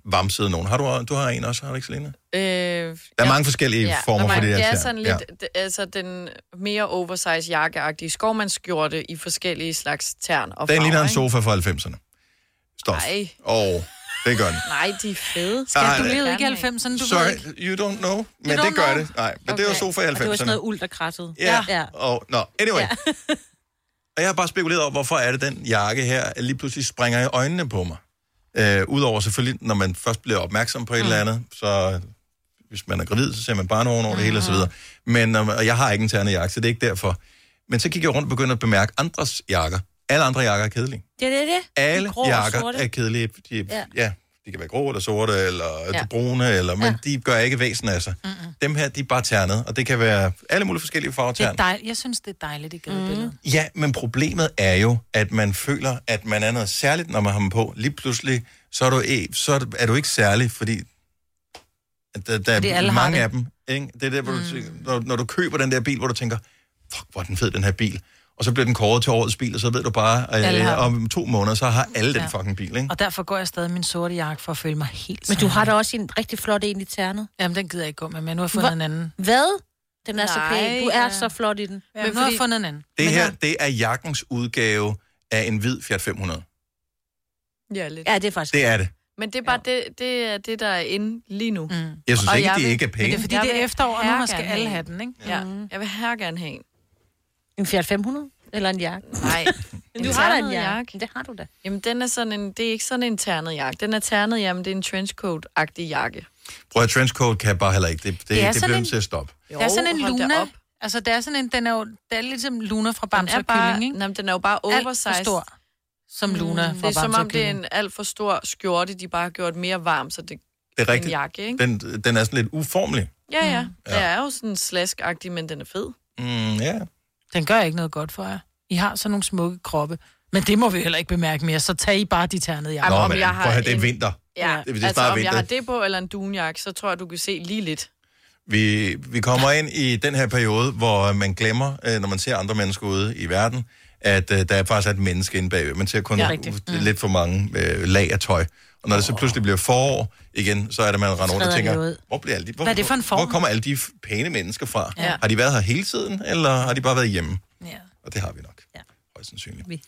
S1: vamsede nogen. Har du, du har en også, har du ikke, Selina?
S4: Øh,
S1: Der er mange forskellige former
S4: der er
S1: for det der
S4: Det er
S1: tern.
S4: sådan
S1: Ja.
S4: lidt, ja. altså den mere oversize jakkeagtige skovmandsskjorte i forskellige slags tern og
S1: Den ligner en
S4: ikke?
S1: sofa fra 90'erne. Stof.
S4: Nej.
S1: Og det gør den.
S4: Nej, de er fede.
S1: Skal Ej, du nej. leve
S3: ikke i 90'erne, du
S1: Sorry,
S3: ved ikke.
S1: you don't know, men det gør det. Nej, men okay. det var sofa i 90'erne.
S2: Og det var sådan noget uld, der krattede.
S1: Ja.
S2: ja.
S1: Og, nå, anyway. Ja. og jeg har bare spekuleret over, hvorfor er det den jakke her lige pludselig springer i øjnene på mig. Øh, Udover selvfølgelig, når man først bliver opmærksom på et eller
S2: Mm.
S1: andet, så hvis man er gravid, så ser man bare nogen over det hele
S2: Mm.
S1: og så videre. Men, når man- og jeg har ikke en ternet jakke, så det er ikke derfor. Men så gik jeg rundt og begyndte at bemærke andres jakker. Alle andre jakker er kedelige.
S2: Det er det, det. er. De
S1: Alle
S2: grå og
S1: jakker
S2: sorte.
S1: er kedelige. De, ja.
S2: Ja.
S1: ja, de kan være grå eller sorte, eller
S2: Ja.
S1: ja. brune, eller, men ja. de gør ikke væsen af sig. Mm-mm. Dem her, de er bare ternet, og det kan være alle mulige forskellige farver
S3: Det er
S1: tern.
S3: dejligt. Jeg synes, det er dejligt, det
S4: Mhm.
S3: gadebillede. Mm.
S1: Ja, men problemet er jo, at man føler, at man er noget særligt, når man har dem på. Lige pludselig, så er du, e, så er du- er du ikke særlig, fordi at der, der
S3: Fordi
S1: er
S3: alle har
S1: mange
S3: det. Mm.
S1: af dem. Ikke? Det er der, hvor du, tænker- når, når du køber den der bil, hvor du tænker, fuck, hvor er den fed, den her bil. Og så bliver den kåret til årets bil, og så ved du bare,
S3: Alle har
S1: øh,
S3: den.
S1: om to måneder, så har alle den
S3: Ja.
S1: fucking bil. Ikke?
S3: Og derfor går jeg stadig i min sorte jakke for at føle mig helt
S2: Men du har da
S3: da
S2: også en rigtig flot en i ternet.
S3: Jamen, den gider jeg ikke gå med, men nu har jeg fundet
S2: Hvor-
S3: en anden.
S2: Hvad? Den er så
S3: Nej,
S2: pæn. Du er
S3: ja.
S2: så flot i den.
S3: Ja, men nu har jeg fundet en anden.
S1: Det her, det er jakkens udgave af en hvid Fiat 500.
S4: Ja, lidt.
S2: Ja, det er faktisk...
S1: Det er det.
S4: Men det er bare det, det, er det, der er inde lige nu. Mm.
S1: Jeg synes ikke, de ikke er pæne.
S3: Men det er fordi, det er efterår, og nu skal alle have den, ikke?
S4: Ja, jeg vil her gerne have en.
S2: En Fiat 500? Eller en jakke?
S4: Nej.
S2: Men du har da en
S4: ternet
S2: jakke. Det har du da.
S4: Jamen, den er sådan en, det er ikke sådan en ternet jakke. Den er ternet, jamen, det er en trenchcoat-agtig jakke.
S1: Prøv at trenchcoat kan jeg bare heller ikke. Det, det,
S3: Det er
S1: det, det
S3: sådan
S1: bliver
S3: en-
S1: nødt til at stoppe.
S3: Jo, der er sådan en
S4: hold da
S3: Luna.
S4: op.
S3: Altså, der er sådan en, den er jo, det er ligesom Luna fra Bamse
S4: er
S3: og
S4: bare-
S3: Kylling, ikke?
S4: Jamen, den er jo bare
S3: Alt for
S4: oversized. Mm,
S3: stor, som Luna
S4: Det
S3: fra
S4: er som
S3: Bamse
S4: om,
S3: og
S4: det er
S3: Kylling.
S4: en alt for stor skjorte, de bare har gjort mere varm, så det,
S1: Det er
S4: en
S1: rigtigt.
S4: jakke, ikke?
S1: Den, den er sådan lidt uformelig.
S4: Ja, ja. Mm. Den er jo sådan slaskagtig, men den er fed.
S1: Mm, ja.
S3: Den gør ikke noget godt for jer. I har sådan nogle smukke kroppe. Men det må vi heller ikke bemærke mere, så tag I bare de ternede jakker.
S1: Nå, men, jeg prøv at høre, det er vinter.
S4: Ja,
S1: Det, det er
S4: altså
S1: snart
S4: om
S1: vinter.
S4: jeg har det på eller en dunjakke, så tror jeg, du kan se lige lidt.
S1: Vi, vi kommer ind i den her periode, hvor man glemmer, øh, når man ser andre mennesker ude i verden, at øh, der er faktisk er et menneske inde bagved. Man ser kun
S4: Ja,
S1: ja,
S4: rigtigt. Mm.
S1: lidt for mange øh, lag af tøj. Og når det så pludselig bliver forår igen, så er det, man render rundt
S3: træder
S1: og
S3: de
S1: tænker,
S3: ud.
S1: hvor, bliver alle de, hvor,
S3: Hvad er det for en form?
S1: hvor kommer alle de f- pæne mennesker fra?
S3: Ja.
S1: Har de været her hele tiden, eller har de bare været hjemme?
S3: Ja.
S1: Og det har vi nok, ja. højst sandsynligt.
S2: Vi.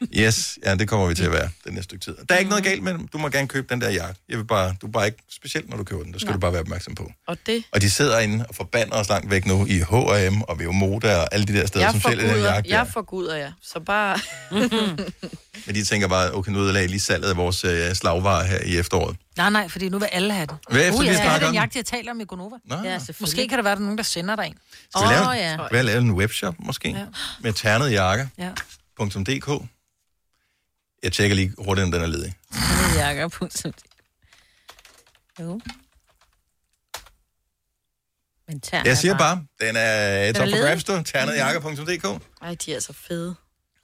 S1: Yes, ja, det kommer vi til at være den næste stykke tid. Der er ikke noget galt med dem. Du må gerne købe den der jakke. Jeg vil bare, du er bare ikke, specielt når du køber den, der skal
S4: Nej.
S1: Nej. du bare være opmærksom på.
S4: Og det...
S1: Og de sidder inde og forbander os langt væk nu i H&M og Veomoda og alle de der steder,
S4: jeg
S1: som sælger den
S4: forguder,
S1: jakke. der.
S4: jeg forguder, ja. Så bare...
S1: Men de tænker bare, okay, nu ødelag lige salget af vores øh, slagvarer her i efteråret.
S3: Nej, nej, fordi nu vil alle have den.
S1: Hvad efter vi
S3: jeg skal have
S1: snakker
S3: den
S1: om?
S3: jagt, jeg taler om i Gonova.
S1: Nå. Ja, selvfølgelig.
S3: Måske kan der være, der er nogen, der sender dig en.
S1: Skal vi lave, hvad, lave en webshop måske? Ja. Med ternet jakker.
S3: Ja.
S1: .dk. Jeg tjekker lige hurtigt, om den er ledig.
S2: Jakob. Jo. Men altså, tern er
S1: Jeg siger bare, den er
S4: Den
S1: top
S4: er
S1: for
S4: ledig.
S1: grabs, du. Ternejakker.dk.
S4: Ej, de er så fede.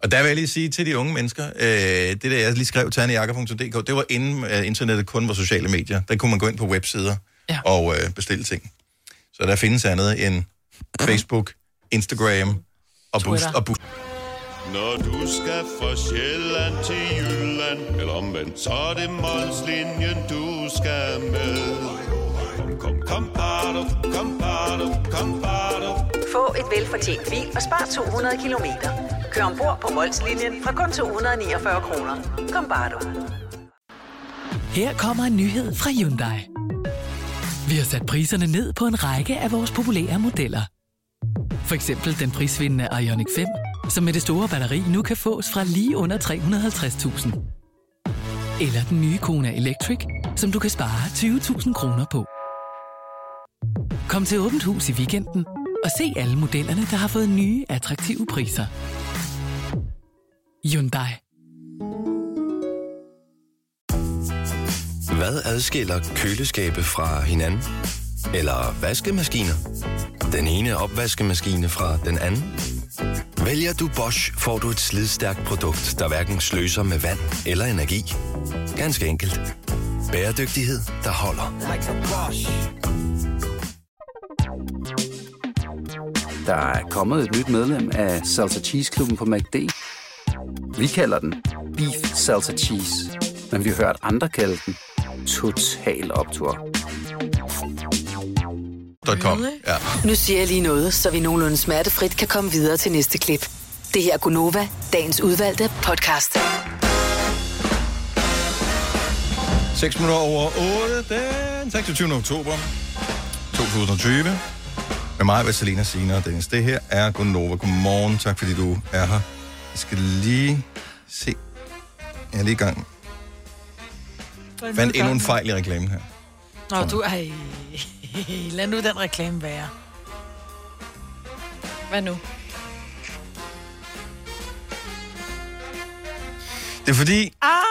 S1: Og der vil jeg lige sige til de unge mennesker, øh, det der, jeg lige skrev, ternejakker.dk, det var inden øh, internettet kun var sociale medier. Der kunne man gå ind på websider ja. og øh, bestille ting. Så der findes andet end Facebook, Instagram og Boost.
S14: Twitter.
S1: Og boost.
S14: Når du skal fra Sjælland til Jylland Eller omvendt, så er det Molslinjen, du skal med Kom, kom, kom, bado, kom, bado, kom, bado.
S15: Få et velfortjent bil og spar 200 kilometer. Kør ombord på Molslinjen fra kun 249 kroner. Kom bare du.
S16: Her kommer en nyhed fra Hyundai. Vi har sat priserne ned på en række af vores populære modeller. For eksempel den prisvindende Ioniq 5, som med det store batteri nu kan fås fra lige under 350.000. Eller den nye Kona Electric, som du kan spare 20.000 kroner på. Kom til Åbent Hus i weekenden og se alle modellerne, der har fået nye, attraktive priser. Hyundai.
S17: Hvad adskiller køleskabe fra hinanden? Eller vaskemaskiner? Den ene opvaskemaskine fra den anden? Vælger du Bosch, får du et slidstærkt produkt, der hverken sløser med vand eller energi. Ganske enkelt. Bæredygtighed, der holder.
S8: Like a Bosch.
S19: Der er kommet et nyt medlem af Salsa Cheese Klubben på MACD. Vi kalder den Beef Salsa Cheese, men vi har hørt andre kalde den Total Optor.
S1: .com. Ja.
S5: Nu siger jeg lige noget, så vi nogenlunde smertefrit kan komme videre til næste klip. Det her er Gunova, dagens udvalgte podcast.
S1: 6 minutter over 8, den 26. oktober 2020. Med mig, Vaselina Sina og Dennis. Det her er Gunnova. Godmorgen, tak fordi du er her. Jeg skal lige se. Jeg er lige i gang. Jeg fandt endnu en fejl i reklamen her.
S3: Nå, du... Ej, lad nu den reklame være.
S4: Hvad nu?
S1: Det er
S3: Ah!
S1: fordi,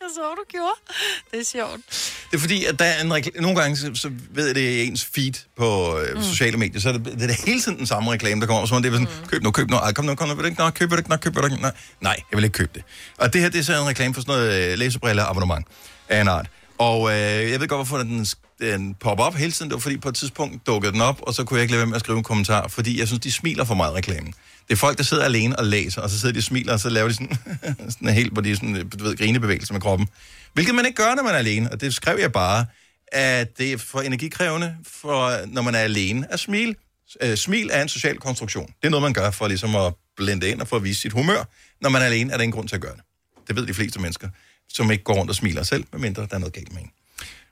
S3: jeg så, du gjorde. Det er sjovt.
S1: det er fordi at der er en reklame. Nogle gange, så, så ved jeg, det er ens feed på øh,
S3: Mm.
S1: mm. sociale medier, så er det, det er hele tiden den samme reklame, der kommer. Så man, det er sådan, mm. køb nu, køb nu, ej, kom nu, kom nu, vil du ikke, nej, køber du ikke, nej, køber du ikke, nej, nej, jeg vil ikke købe det. Og det her, det er så en reklame for sådan noget øh, læsebriller abonnement af en art. Og øh, jeg ved godt, hvorfor den, den popper op hele tiden. Det var fordi, på et tidspunkt dukkede den op, og så kunne jeg ikke lade være med at skrive en kommentar, fordi jeg synes, de smiler for meget i reklamen. Det er folk, der sidder alene og læser, og så sidder de og smiler, og så laver de sådan, sådan helt, hvor de sådan, øh, du ved, grinebevægelser med kroppen. Hvilket man ikke gør, når man er alene, og det skrev jeg bare, at det er for energikrævende, for når man er alene, at smile. Øh, smil er en social konstruktion. Det er noget, man gør for ligesom at blende ind og for at vise sit humør. Når man er alene, er der ingen grund til at gøre det. Det ved de fleste mennesker, som ikke går rundt og smiler selv, medmindre der er noget galt med en.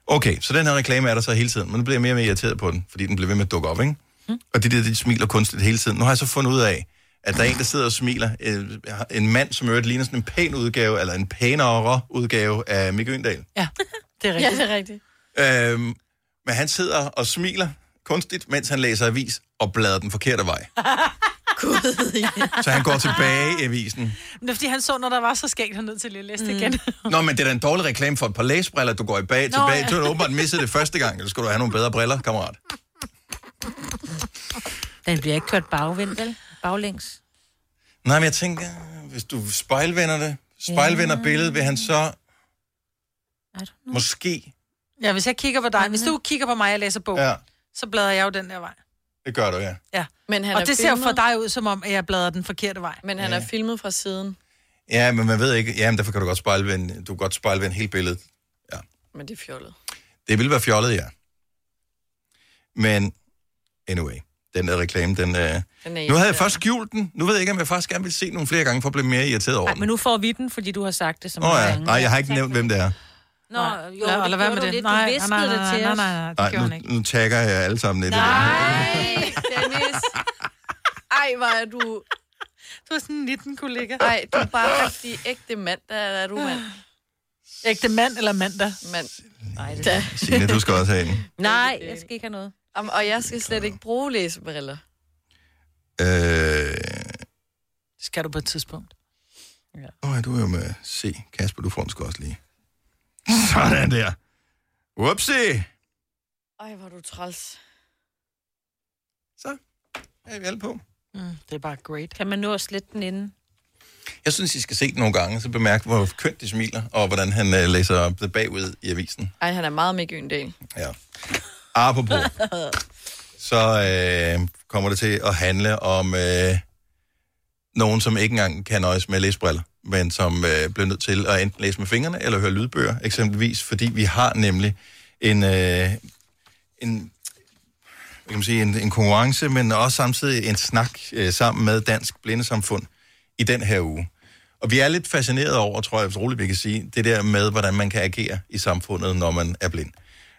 S1: Okay, så den her reklame er der så hele tiden, men nu bliver jeg mere og mere irriteret på den, fordi den bliver ved med at dukke op, ikke? Mm. Og det der, de smiler kunstigt hele tiden. Nu har jeg så fundet ud af, at der er en, der sidder og smiler. Øh, En mand, som i øvrigt ligner sådan en pæn udgave, eller en pænere udgave af Mikke Øndal.
S3: Ja, det er rigtigt.
S4: Ja, det er rigtigt.
S1: Øhm, men han sidder og smiler kunstigt, mens han læser avis og bladrer den forkerte vej.
S4: Gud, ja.
S1: Så han går tilbage i avisen.
S3: Men det er, fordi han så, når der var så skægt, han er nødt til lige at læse mm. det igen.
S1: Nå, men det er da en dårlig reklame for et par læsebriller, du går i bag
S3: Nå,
S1: tilbage.
S3: ja.
S1: Du har åbenbart misset det første gang, så skal du have nogle bedre briller, kammerat.
S2: Den bliver ikke kørt bagvind, vel? Baglængs.
S1: Nej, men jeg tænker, hvis du spejlvender det, spejlvender
S3: Ja.
S1: billedet, vil han så... Måske.
S3: Ja, hvis jeg kigger på dig, hvis du kigger på mig og jeg læser bog, ja.
S1: Ja.
S3: så bladrer jeg jo den der vej.
S1: Det gør du, ja.
S3: Ja.
S4: Men han
S3: og
S4: er
S3: det ser jo
S4: filmet.
S3: for dig ud, som om at jeg bladrer den forkerte vej.
S4: Men han er filmet fra siden.
S1: Ja, men man ved ikke... Ja, men derfor kan du godt spejlvende, du kan godt spejlvende hele billedet.
S4: Men det er fjollet.
S1: Det ville være fjollet, ja. Men anyway, den der reklame, den... Øh...
S2: Den er
S1: Nu havde jeg først skjult den. Nu ved jeg ikke, om jeg faktisk gerne vil se nogle flere gange, for at blive mere irriteret over
S2: Nej,
S1: den.
S2: men nu får vi den, fordi du har sagt det så
S1: Åh
S2: mange
S1: ja,
S2: gange.
S1: nej, jeg har ikke nævnt, hvem det er.
S2: Nå, jo,
S3: Lad-
S2: det
S3: lad være
S2: gjorde
S3: med
S2: du
S3: det.
S2: lidt.
S3: Nej,
S2: du
S3: nej,
S2: viskede
S3: nej,
S2: det
S3: nej,
S2: til
S3: nej,
S2: os.
S3: nej, nej.
S1: Nej, nu, nu tagger jeg alle sammen lidt.
S4: Nej, Dennis. Ej, hvor er du...
S3: Du er sådan en 19 kollega.
S4: Ej, du er bare rigtig ægte mand. Der er du mand.
S3: Ægte mand eller mandag?
S4: Mand.
S2: Nej, det
S4: er...
S1: Signe, du skal også have en.
S2: Nej, jeg skal ikke have noget.
S4: Om, og jeg skal slet ikke bruge læsebriller.
S1: Øh...
S3: Det skal du på et tidspunkt.
S1: Åh, ja, du er jo med C. Kasper, du får den sgu også lige. Sådan der. Whoopsie.
S4: Ej, hvor er du træls.
S1: Så er vi alle på.
S3: Mm, det er bare great.
S2: Kan man nå at slette den inden?
S1: Jeg synes, I skal se det nogle gange, så bemærk, hvor kønt de smiler, og hvordan han øh, læser op det bagud i avisen.
S4: Ej, han er meget Mikke Øndal.
S1: Ja. Apropos, så øh, kommer det til at handle om øh, nogen, som ikke engang kan nøjes med læsbriller, men som øh, bliver nødt til at enten læse med fingrene eller høre lydbøger, eksempelvis, fordi vi har nemlig en, øh, en hvad kan man sige, en, en konkurrence, men også samtidig en snak øh, sammen med Dansk Blindesamfund i den her uge. Og vi er lidt fascineret over, tror jeg, roligt vi kan sige, det der med, hvordan man kan agere i samfundet, når man er blind.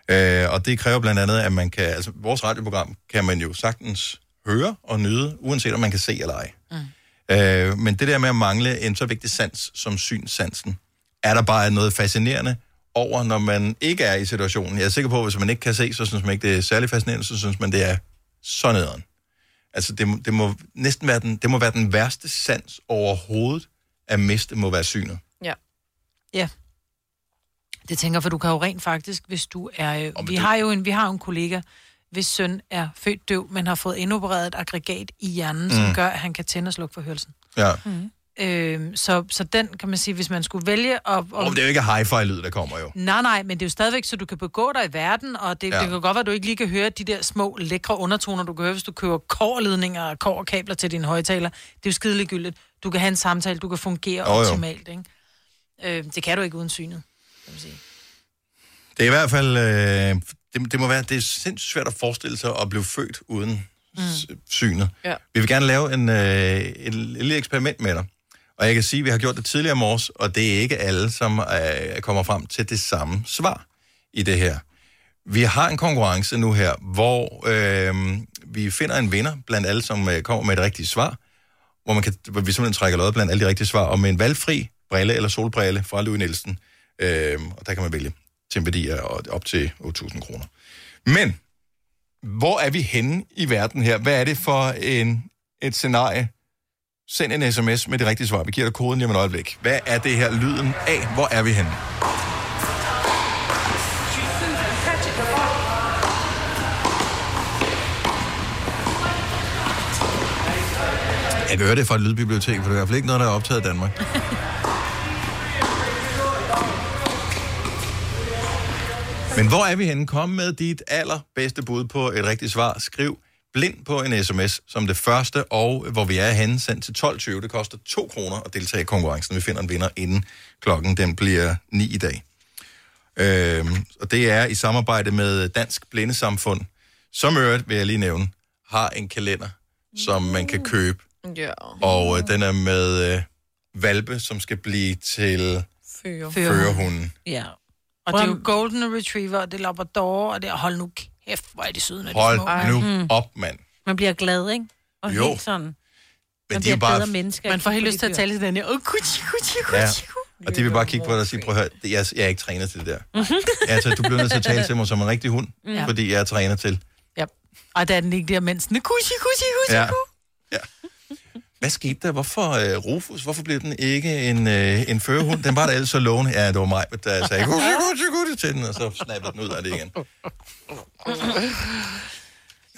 S1: Øh, og det kræver blandt andet, at man kan, altså vores radioprogram kan man jo sagtens høre og nyde, uanset om man kan se eller ej. Mm. Øh, men det der med at mangle en så vigtig sans som synssansen, er der bare noget fascinerende over, når man ikke er i situationen. Jeg er sikker på, at hvis man ikke kan se, så synes man ikke, det er særlig fascinerende, så synes man, det er så nederen. Altså, det, må- det må næsten være den, det må være den værste sans overhovedet, at miste må være synet.
S4: Ja.
S3: Ja. Det tænker jeg, for du kan jo rent faktisk, hvis du er... Øh, vi, har jo en, vi har jo en kollega, hvis søn er født døv, men har fået indopereret et aggregat i hjernen, mm. som
S18: Mm.
S3: gør, at han kan tænde og slukke for hørelsen.
S1: Ja.
S3: Mm. Øh, så, så den kan man sige, hvis man skulle vælge at... at
S1: Og det er jo ikke hi-fi-lyd, der kommer jo.
S3: Nej, nej, men det er jo stadigvæk, så du kan begå dig i verden, og det,
S1: Ja.
S3: ja. det kan godt være, at du ikke lige kan høre de der små, lækre undertoner, du kan høre, hvis du køber kårledninger og kårkabler til dine højtaler. Det er jo skideligegyldigt. Du kan have en samtale, du kan fungere
S1: Jo,
S3: oh,
S1: jo.
S3: optimalt, ikke? Øh, det kan du ikke uden synet, kan man sige.
S1: Det er i hvert fald, øh, det, det må være, det er sindssygt svært at forestille sig at blive født uden Mm. synet.
S4: Ja.
S1: Vi vil gerne lave en, øh, et lille eksperiment med dig. Og jeg kan sige, at vi har gjort det tidligere om års, og det er ikke alle, som øh, kommer frem til det samme svar i det her. Vi har en konkurrence nu her, hvor øh, vi finder en vinder blandt alle, som øh, kommer med et rigtigt svar. Hvor, man kan, hvor vi simpelthen trækker lod blandt alle de rigtige svar, og med en valgfri brille eller solbrille fra Louis Nielsen. Øh, og der kan man vælge til en værdi af op- op til 8.000 kroner. Men hvor er vi henne i verden her? Hvad er det for en, et scenarie? Send en sms med det rigtige svar. Vi giver dig koden lige om et øjeblik. Hvad er det her lyden af? Hvor er vi henne? Jeg kan høre det fra et lydbibliotek, for det er i hvert fald ikke noget, der er optaget i Danmark. Men hvor er vi henne? Kom med dit allerbedste bud på et rigtigt svar. Skriv blind på en sms som det første, og hvor vi er henne, sendt til 12.20. Det koster 2 kroner at deltage i konkurrencen. Vi finder en vinder inden klokken den bliver 9 i dag. Øhm, og det er i samarbejde med Dansk Blindesamfund, som i øvrigt, vil jeg lige nævne, har en kalender, som man kan købe.
S4: Ja.
S1: Og øh, den er med øh, valpe, som skal blive til
S4: Fyre.
S1: førerhunden.
S2: Ja.
S3: Og det er jo Golden Retriever, og det er Labrador, og det er... Hold nu kæft, hvor er de søde, når de er
S1: Hold
S3: små.
S1: nu op, mand.
S2: Man bliver glad, ikke? Og
S1: Jo.
S2: helt sådan.
S1: Men
S2: Man
S1: de
S2: bliver
S1: er jo bare...
S2: bedre menneske.
S3: Man får helt lyst til at tale til den her. Åh, kuchi, kuchi,
S1: Ja.
S3: kuchi.
S1: Og de vil bare kigge på dig og sige, prøv at høre, det- jeg, jeg er ikke trænet til det der. Altså, du bliver nødt til at tale til mig som en rigtig hund,
S3: Ja.
S1: fordi jeg er trænet til.
S3: Ja. Og der er den ikke der, mens den er kuchi, kuchi, kuchi.
S1: Ja. ja. Hvad skete der? Hvorfor øh, Rufus? Hvorfor blev den ikke en, øh, en førerhund? Den var da ellers så lovende. Ja, det var mig, der sagde, kuchi, kuchi, kuchi til den, og så snappede den ud af det igen.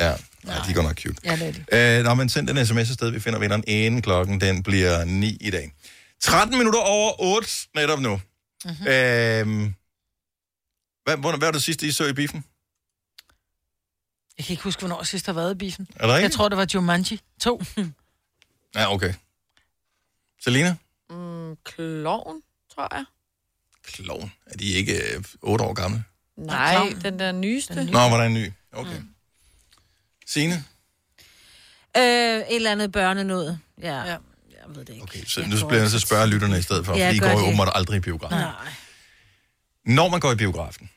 S1: Ja, nej, de går nok cute.
S3: Ja, det er det.
S1: Øh, når man sender en sms afsted, vi finder vinderen inden klokken, den bliver 9 i dag. 13 minutter over 8 netop nu.
S3: Mhm.
S1: Mm-hmm. Øh, hvad, hvornår, hvad var det sidste, I så i biffen?
S3: Jeg kan ikke huske, hvornår jeg sidst har været i biffen.
S1: Er der ikke?
S3: Jeg tror, det var Jumanji 2.
S1: Ja, okay. Selina?
S4: Mm, kloven, tror jeg.
S1: Kloven. Er de ikke øh, 8 år gamle?
S4: Nej, den der nyeste. Den
S1: Nå, var der en ny? Okay. Mm. Signe?
S2: Øh, et eller andet børne noget. Ja. ja.
S1: Okay, så nu bliver jeg nødt til at spørge lytterne i stedet for,
S2: Ja,
S1: ja, for I
S2: gør
S1: går jo
S2: det.
S1: åbenbart aldrig i biografen. Når man går i biografen,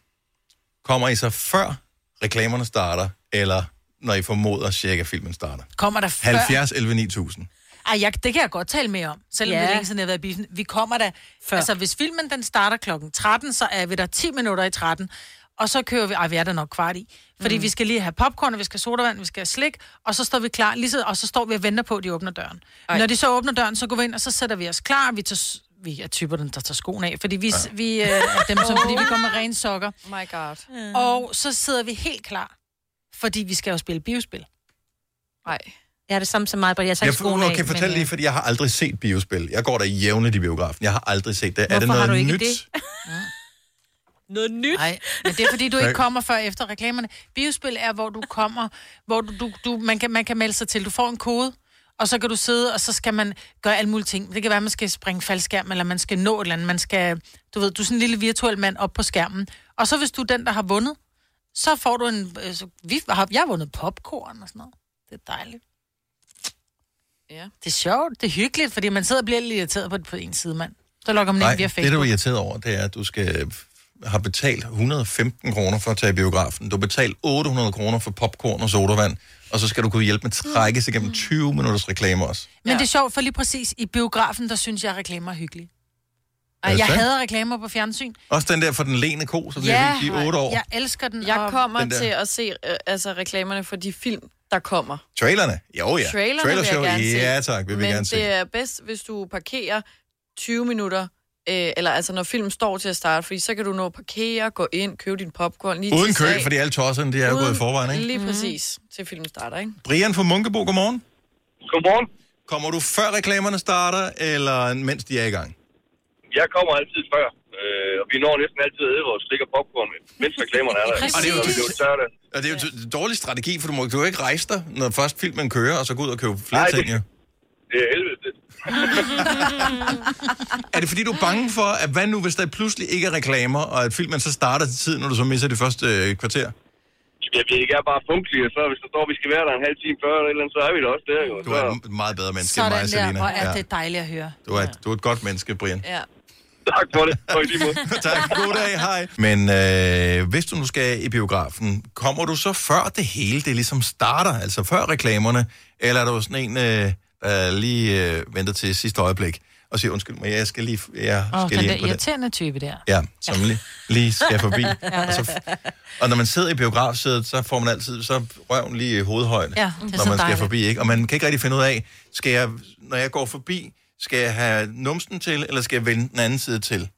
S1: kommer I så før reklamerne starter, eller når I formoder cirka filmen starter?
S3: Kommer der før?
S1: 70 11 9000.
S3: Ej, jeg, det kan jeg godt tale mere om, selvom
S2: Ja.
S3: ja. det er længe siden, jeg har været i biffen. Vi kommer da... Før. Altså, hvis filmen den starter klokken 13, så er vi der 10 minutter i 13, og så kører vi... Ej, vi er der nok kvart i. Fordi
S2: Mm.
S3: mm. vi skal lige have popcorn, og vi skal have sodavand, vi skal have slik, og så står vi klar, lige så, og så står vi og venter på, at de åbner døren.
S2: Ej.
S3: Ej. Når de så åbner døren, så går vi ind, og så sætter vi os klar, og vi tager s- vi er typerne, der tager skoen af, fordi vi, ja. Oh vi øh, er dem, som, fordi vi går med rene sokker.
S4: My God.
S3: Og så sidder vi helt klar, fordi vi skal jo spille biospil.
S4: Nej.
S2: Jeg er det samme som mig, men jeg tager
S1: Jeg
S2: ikke skoene
S1: for,
S2: af.
S1: okay, fortæl
S2: men,
S1: lige,
S2: øh,
S1: fordi jeg har aldrig set biospil. Jeg går der jævnligt i biografen. Jeg har aldrig set det. er
S2: hvorfor
S1: det noget
S2: har du ikke
S1: nyt?
S2: det? noget nyt?
S3: Nej, men det er fordi, du
S1: Nej.
S3: ikke kommer før efter reklamerne. Biospil er, hvor du kommer, hvor du, du, du man, kan, man kan melde sig til. Du får en kode, og så kan du sidde, og så skal man gøre alle mulige ting. Det kan være, at man skal springe faldskærm, eller man skal nå et eller andet. Man skal, du ved, du er sådan en lille virtuel mand op på skærmen. Og så hvis du er den, der har vundet, så får du en... Øh, så, vi, har, jeg har vundet popcorn og sådan noget. Det er dejligt.
S4: Ja.
S3: Det er sjovt, det er hyggeligt, fordi man sidder og bliver lidt irriteret på, på en side, mand. Så logger man
S1: Nej,
S3: ind via
S1: det
S3: Facebook.
S1: du er irriteret over, det er, at du skal har betalt 115 kroner for at tage i biografen. Du har betalt 800 kroner for popcorn og sodavand, og så skal du kunne hjælpe med at trække
S4: Mm.
S1: sig gennem 20 minutters reklame også.
S3: Men ja. det er sjovt, for lige præcis i biografen, der synes jeg, at reklamer er hyggelige.
S1: Er det
S3: Ej, jeg
S1: sandt?
S3: hader reklamer på fjernsyn.
S1: Også den der for den lene ko, som bliver vildt i 8 år.
S3: jeg elsker den.
S4: Jeg kommer
S1: Den der.
S4: til at se øh, altså, reklamerne for de film, der kommer.
S1: Trailerne? Jo, ja.
S4: Trailerne
S1: Trailershow?
S4: vil jeg gerne se.
S1: Ja, tak. Vil vi
S4: Men
S1: gerne
S4: det
S1: se.
S4: er bedst, hvis du parkerer 20 minutter, øh, eller altså når filmen står til at starte, fordi så kan du nå at parkere, gå ind, købe din popcorn lige
S1: Uden
S4: til
S1: kø,
S4: sag.
S1: fordi alle tosserne, de er jo
S4: Uden-
S1: gået i forvejen, ikke?
S4: Lige præcis, til filmen starter, ikke?
S1: Brian fra Munkebo, godmorgen. Godmorgen. Kommer du før reklamerne starter, eller mens de er i gang?
S18: Jeg kommer altid før, øh, og vi når næsten altid at æde vores slik og popcorn, mens reklamerne er der.
S1: Præcis. Og det er jo-
S18: Så jo tørre.
S1: Og det er jo en dårlig strategi, for du må du kan jo ikke rejse dig, når først filmen kører, og så gå ud og købe flere
S18: Nej,
S1: Nej,
S18: det-
S1: ting, jo.
S18: Det er helvede. det.
S1: Er det fordi, du er bange for, at hvad nu, hvis der pludselig ikke er reklamer, og at filmen så starter til tiden, når du så misser det første øh, kvarter?
S18: Jeg ved ikke, jeg er bare funkelig, og så hvis der står, at vi skal være der en halv time før, eller et eller andet, så er vi der også der. Jo.
S1: Du er et meget bedre menneske end
S3: Sådan
S1: mig, Selina.
S3: der, og er
S1: Ja.
S3: det dejligt at høre.
S1: Du, er, du er et godt menneske, Brian.
S4: Ja.
S18: Tak for det. Og i lige måde.
S1: tak. God dag. Hej. Men øh, hvis du nu skal i biografen, kommer du så før det hele, det ligesom starter, altså før reklamerne, eller er du sådan en, øh, der lige øh, venter til sidste øjeblik og siger, undskyld mig, jeg skal lige, jeg
S3: Åh, oh,
S1: skal
S3: den
S1: lige
S3: der
S1: ind på det.
S3: irriterende type der.
S1: Ja, som lige, lige skal forbi. og, så, og når man sidder i biografsædet, så får man altid så røven lige i hovedhøjde,
S3: Ja, det er så
S1: når man skal
S3: dejligt.
S1: forbi. Ikke? Og man kan ikke rigtig finde ud af, skal jeg, når jeg går forbi, skal jeg have numsen til, eller skal jeg vende den anden side til?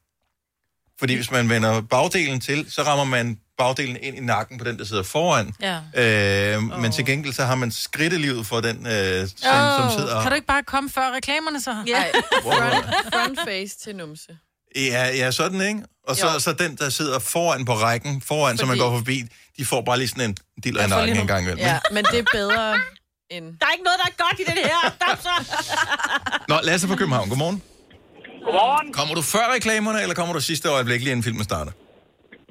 S1: Fordi hvis man vender bagdelen til, så rammer man bagdelen ind i nakken på den, der sidder foran.
S3: Ja.
S1: Øh, oh. Men til gengæld, så har man skridtelivet for den, øh, som, oh. som sidder...
S3: Oh, kan du ikke bare komme før reklamerne så?
S4: Ja.
S1: Front-
S4: Front face til numse.
S1: Ja, ja, sådan, ikke? Og så,
S4: Jo.
S1: så den, der sidder foran på rækken, foran, Fordi... som man
S4: Fordi-
S1: går forbi, de får bare lige sådan en diller i
S4: Jeg får lige
S1: nakken en
S4: nu-
S1: gang imellem.
S4: Ja,
S1: Ja.
S4: men det er bedre end...
S2: Der er ikke noget, der er godt i den her. Stop så.
S1: Mm. Nå, Lasse fra København, godmorgen.
S20: Godmorgen.
S1: Kommer du før reklamerne, eller kommer du sidste øjeblik, lige inden filmen starter?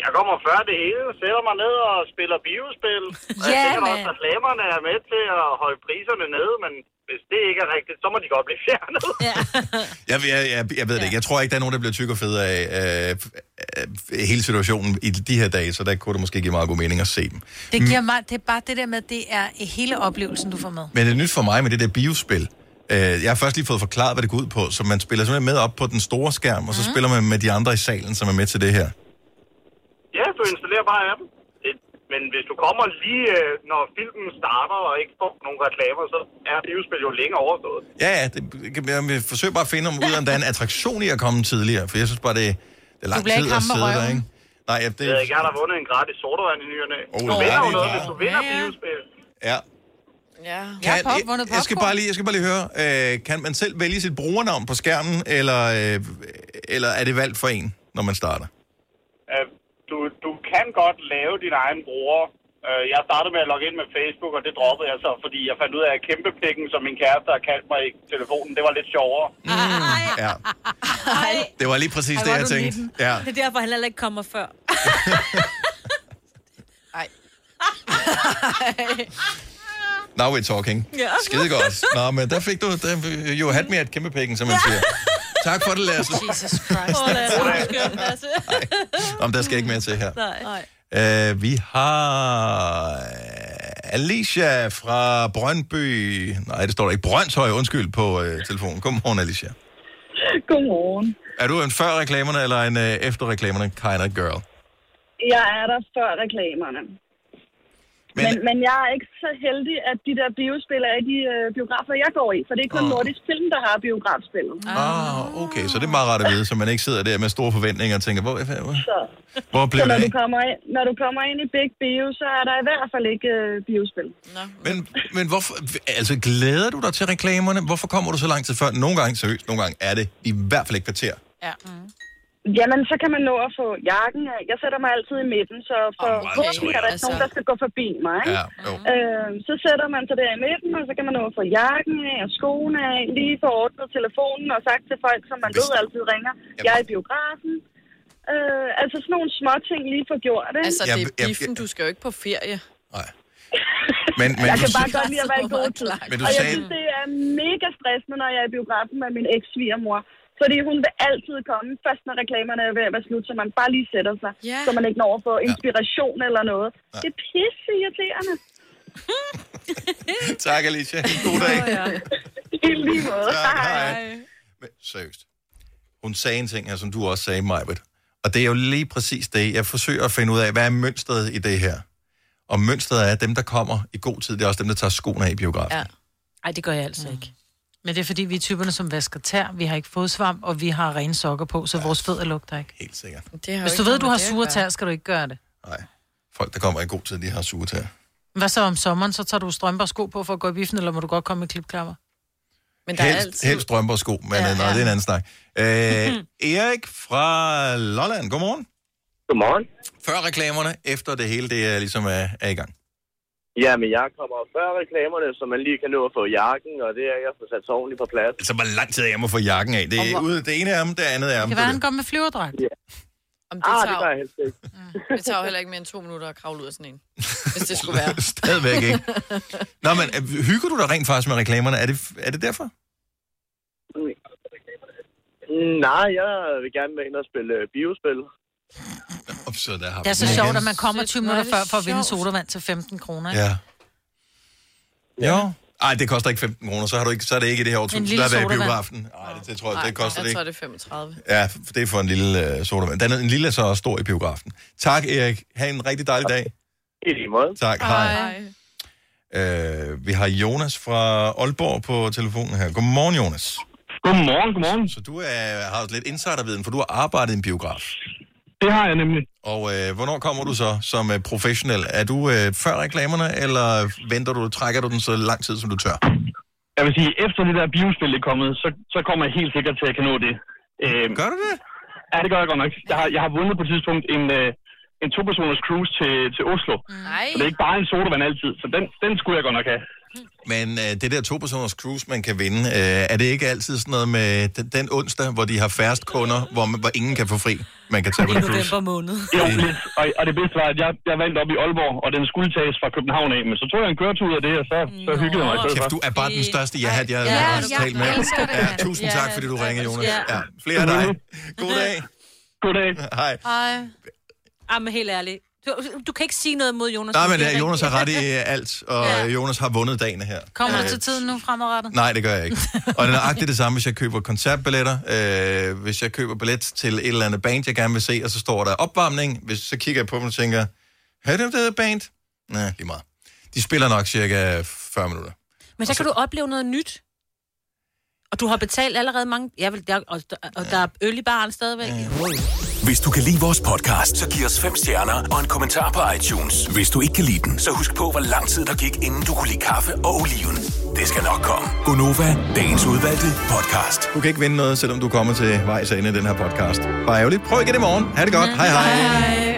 S20: Jeg kommer før det hele, sætter mig ned og spiller biospil.
S2: Ja,
S20: jeg tænker da også,
S2: mand.
S20: at reklamerne er med til at holde priserne nede, men hvis det ikke er rigtigt, så må de godt blive fjernet. Ja.
S1: Jeg, jeg, jeg, jeg ved det ikke. Jeg tror ikke, der er nogen, der bliver tyk og fed af øh, øh, hele situationen i de her dage, så der kunne det måske give meget god mening at se dem.
S3: Det
S1: Mm.
S3: giver mig, det er bare det der med, at det er hele oplevelsen, du får med.
S1: Men det er nyt for mig med det der biospil. Øh, Jeg har først lige fået forklaret, hvad det går ud på, så man spiller simpelthen med op på den store skærm, og så
S4: Mhm.
S1: mm. spiller man med de andre i salen, som er med til det her.
S20: ja, du installerer bare appen. Det, men hvis du kommer lige, øh, når filmen starter og ikke får nogen reklamer, så er biospil jo længere overstået.
S1: Ja, ja, det, kan- jeg vil forsøge bare at finde om, ud af, om der er en attraktion i at komme tidligere, for jeg synes bare, det, det er lang
S20: bliver
S1: tid
S20: ikke
S1: at
S20: ham med
S1: sidde der,
S20: røven.
S1: ikke? Nej, ja, det,
S20: Jeg ved ikke, jeg har da vundet en gratis sodavand i ny og næ.
S1: Oh,
S20: du
S1: det
S20: vinder
S1: er
S20: jo
S1: det
S20: noget,
S1: bare.
S20: hvis du vinder
S3: Ja, ja.
S20: biospil.
S1: ja.
S4: Ja.
S1: jeg, jeg, skal bare lige, jeg skal bare lige høre, øh, kan man selv vælge sit brugernavn på skærmen, eller, øh, eller er det valgt for en, når man starter?
S18: Øh, du, du kan godt lave din egen bruger. Øh, jeg startede med at logge ind med Facebook, og det droppede jeg så, fordi jeg fandt ud af, at kæmpepikken, som min kæreste har kaldt mig i telefonen, det var lidt sjovere.
S1: Ja,
S2: Ej,
S1: det var lige præcis
S2: Ej,
S1: det,
S2: hvor
S1: jeg
S2: er du
S1: tænkte.
S2: nitten.
S1: Ja.
S2: Det er derfor, han heller ikke kommer før.
S4: Ej.
S1: Now we're talking.
S2: Ja.
S1: Skide godt. Nå, men der fik du, der, you had me at kæmpe pikken, som man siger. Tak for det, Lasse.
S3: Jesus Christ.
S2: Åh, Lasse, hvor skønt, altså. Lasse.
S1: Om der skal ikke mere til her.
S2: Nej.
S1: Uh, vi har øh, Alicia fra Brøndby. Nej, det står der ikke. Brøndshøj, undskyld, på uh, telefonen. Godmorgen, Alicia.
S21: Godmorgen.
S1: Er du en før reklamerne eller en uh, efter reklamerne kind of girl?
S21: Jeg er der før reklamerne. Men, men, men jeg er ikke så heldig, at de der biospil er i de øh, biografer, jeg går i. For det er kun oh. Nordisk Film, der har biografspillet.
S1: Ah, okay, så det er meget rart at vide, så man ikke sidder der med store forventninger og tænker, hvor, hvor,
S21: Så,
S1: hvor
S21: så
S1: blev det
S21: når, du
S1: af?
S21: kommer ind, når du kommer ind i Big Bio, så er der i hvert fald ikke øh, biospil.
S4: Nå.
S1: Men, men hvorfor, altså glæder du dig til reklamerne? Hvorfor kommer du så lang tid før? Nogle gange, seriøst, nogle gange er det i hvert fald et kvarter.
S3: Ja.
S21: Jamen, så kan man nå at få jakken af. Jeg sætter mig altid i midten, så for oh, okay. er der ikke nogen, der skal gå forbi mig.
S1: Ja, jo.
S21: øh, så sætter man sig der i midten, og så kan man nå at få jakken af og skoene af, lige få ordnet telefonen og sagt til folk, som man ved altid ringer, jeg er i biografen. Øh, altså sådan nogle små ting lige få gjort, ikke?
S4: Altså, det er biffen, du skal jo ikke på ferie.
S1: Men, men,
S21: jeg
S1: du
S21: kan bare
S1: siger-
S21: godt lide at være i god tid.
S1: Men du
S21: og jeg
S1: sagde-
S21: synes, det er mega stressende, når jeg er i biografen med min eks-svigermor. Fordi hun vil altid komme, først når reklamerne er ved at være slut, så man bare lige sætter sig,
S4: Ja.
S21: så man ikke når at få inspiration eller noget. Det er pisse irriterende.
S1: tak, Alicia. God dag.
S21: I lige måde.
S1: Tak, hej. Men, seriøst. Hun sagde en ting her, som du også sagde, Majbet. Og det er jo lige præcis det, jeg forsøger at finde ud af, hvad er mønstret i det her? Og mønstret er, at dem, der kommer i god tid, det er også dem, der tager skoene af i biografen.
S3: Ja.
S2: Ej, det gør jeg altså ikke.
S3: Men det er fordi, vi er typerne, som vasker tær, vi har ikke fodsvamp, og vi har rene sokker på, så ja. vores fødder lugter ikke.
S1: Helt sikkert.
S4: Det har
S3: Hvis du
S4: jo ikke
S3: ved,
S4: noget
S3: du
S4: med
S3: har
S4: det at
S3: sure
S4: gøre.
S3: tær, skal du ikke gøre det.
S1: Folk, der kommer i god tid, de har sure tæer.
S3: Hvad så om sommeren, så tager du strømper og sko på for at gå i biffen, eller må du godt komme i klipklapper?
S4: Men
S1: helst, helst strømper og sko, men ja, nej, det er en anden snak. Øh,
S3: Mhm.
S1: Erik fra Lolland, godmorgen.
S22: Godmorgen.
S1: Før reklamerne, efter det hele, det er ligesom er, er i gang.
S22: Ja, men jeg kommer før reklamerne, så man lige kan nå at få jakken, og det er jeg får sat sig ordentligt på plads.
S1: Så Altså, hvor lang tid er jeg må få jakken af? Det er ude, det ene er om, det andet er om.
S3: Det kan være, han går med flyverdragt.
S4: Om det,
S22: Ah, det
S4: tager,
S22: gør jeg helst ikke.
S4: det, det tager jo heller ikke mere end to minutter at kravle ud af sådan en. Hvis det skulle være.
S1: Stadigvæk ikke. Nå, men øh, hygger du dig rent faktisk med reklamerne? Er det, er det derfor?
S22: Mm, Nej, jeg vil gerne med ind og spille øh, biospil.
S1: Op, så der har
S3: Det er så sjovt, at man kommer 20 minutter før for at vinde sodavand til 15 kroner. ikke?
S1: Ja. Jo. Ej, det koster ikke 15 kroner, så, har du ikke, så er det ikke i det her
S3: En
S1: årtusind.
S3: lille
S1: Der er været i
S3: sodavand.
S1: biografen. Ej, det, det tror jeg, det koster
S4: jeg
S1: det
S4: tror,
S1: ikke.
S4: det er 35.
S1: Ja, f- det er for en lille øh, sodavand. Den er en lille er så også stor i biografen. Tak, Erik. Ha' en rigtig dejlig dag.
S22: I lige måde.
S1: Tak, hej. Øh, vi har Jonas fra Aalborg på telefonen her. Godmorgen, Jonas.
S23: Godmorgen, godmorgen.
S1: Så du er, har også lidt insiderviden, for du har arbejdet i en biograf.
S23: Det har jeg nemlig.
S1: Og øh, hvornår kommer du så som øh, professionel? Er du øh, før reklamerne, eller venter du, trækker du den så lang tid, som du tør?
S23: Jeg vil sige, efter det der biospil er kommet, så, så kommer jeg helt sikkert til, at jeg kan nå det. Øhm,
S1: gør du det?
S23: Ja, det gør jeg godt nok. Jeg har, jeg har vundet på et tidspunkt en, øh, en to-personers cruise til, til Oslo.
S4: Nej.
S23: Så det er ikke bare en sodavand altid, så den, den skulle jeg godt nok have.
S1: Men øh, det der to-personers cruise, man kan vinde, øh, er det ikke altid sådan noget med den, den onsdag, hvor de har færrest kunder, hvor, man, hvor ingen kan få fri, man kan tage på en cruise?
S2: måned.
S23: Jo, lidt. Og, og det bedste var, at jeg, jeg vandt op i Aalborg, og den skulle tages fra København af. Men så tog jeg en køretur ud af det, og så, så hyggede jeg mig i stedet
S1: Kæft, du er bare den største jahat, jeg
S23: Ja,
S1: har
S23: jeg
S1: talt med.
S23: elsker det,
S1: Ja,
S23: mand.
S1: tusind
S23: Ja,
S1: tak, fordi du ringede, Jonas.
S2: ja.
S1: Ja, flere af dig. God dag.
S23: God dag.
S1: Hej.
S2: Ej. Ej, men helt ærligt. Du, du kan ikke sige noget mod Jonas.
S1: Nej, men
S2: Ah, Det er
S1: ja, Jonas har
S2: rigtigt.
S1: ret i øh, alt, og øh, Jonas har vundet dagen her.
S3: Kommer
S1: Øh,
S3: du til tiden nu fremadrettet?
S1: Nej, det gør jeg ikke. Og det er nøjagtigt det samme, hvis jeg køber koncertbilletter. Øh, hvis jeg køber billet til et eller andet band, jeg gerne vil se, og så står der opvarmning. Hvis, så kigger jeg på dem og tænker, har du det der band? Nej, lige meget. De spiller nok cirka 40 minutter.
S2: Men så kan du opleve noget nyt. Og du har betalt allerede mange... Ja, vel, der, og, og der er øl i baren stadigvæk.
S6: Hvis du kan lide vores podcast, så giv os fem stjerner og en kommentar på iTunes. Hvis du ikke kan lide den, så husk på, hvor lang tid der gik, inden du kunne lide kaffe og oliven. Det skal nok komme.
S1: Gonova, dagens udvalgte podcast. Du kan ikke vinde noget, selvom du kommer til vejs ende i den her podcast. Bare ærgerligt. Prøv igen i morgen. Ha' det godt. hej. hej.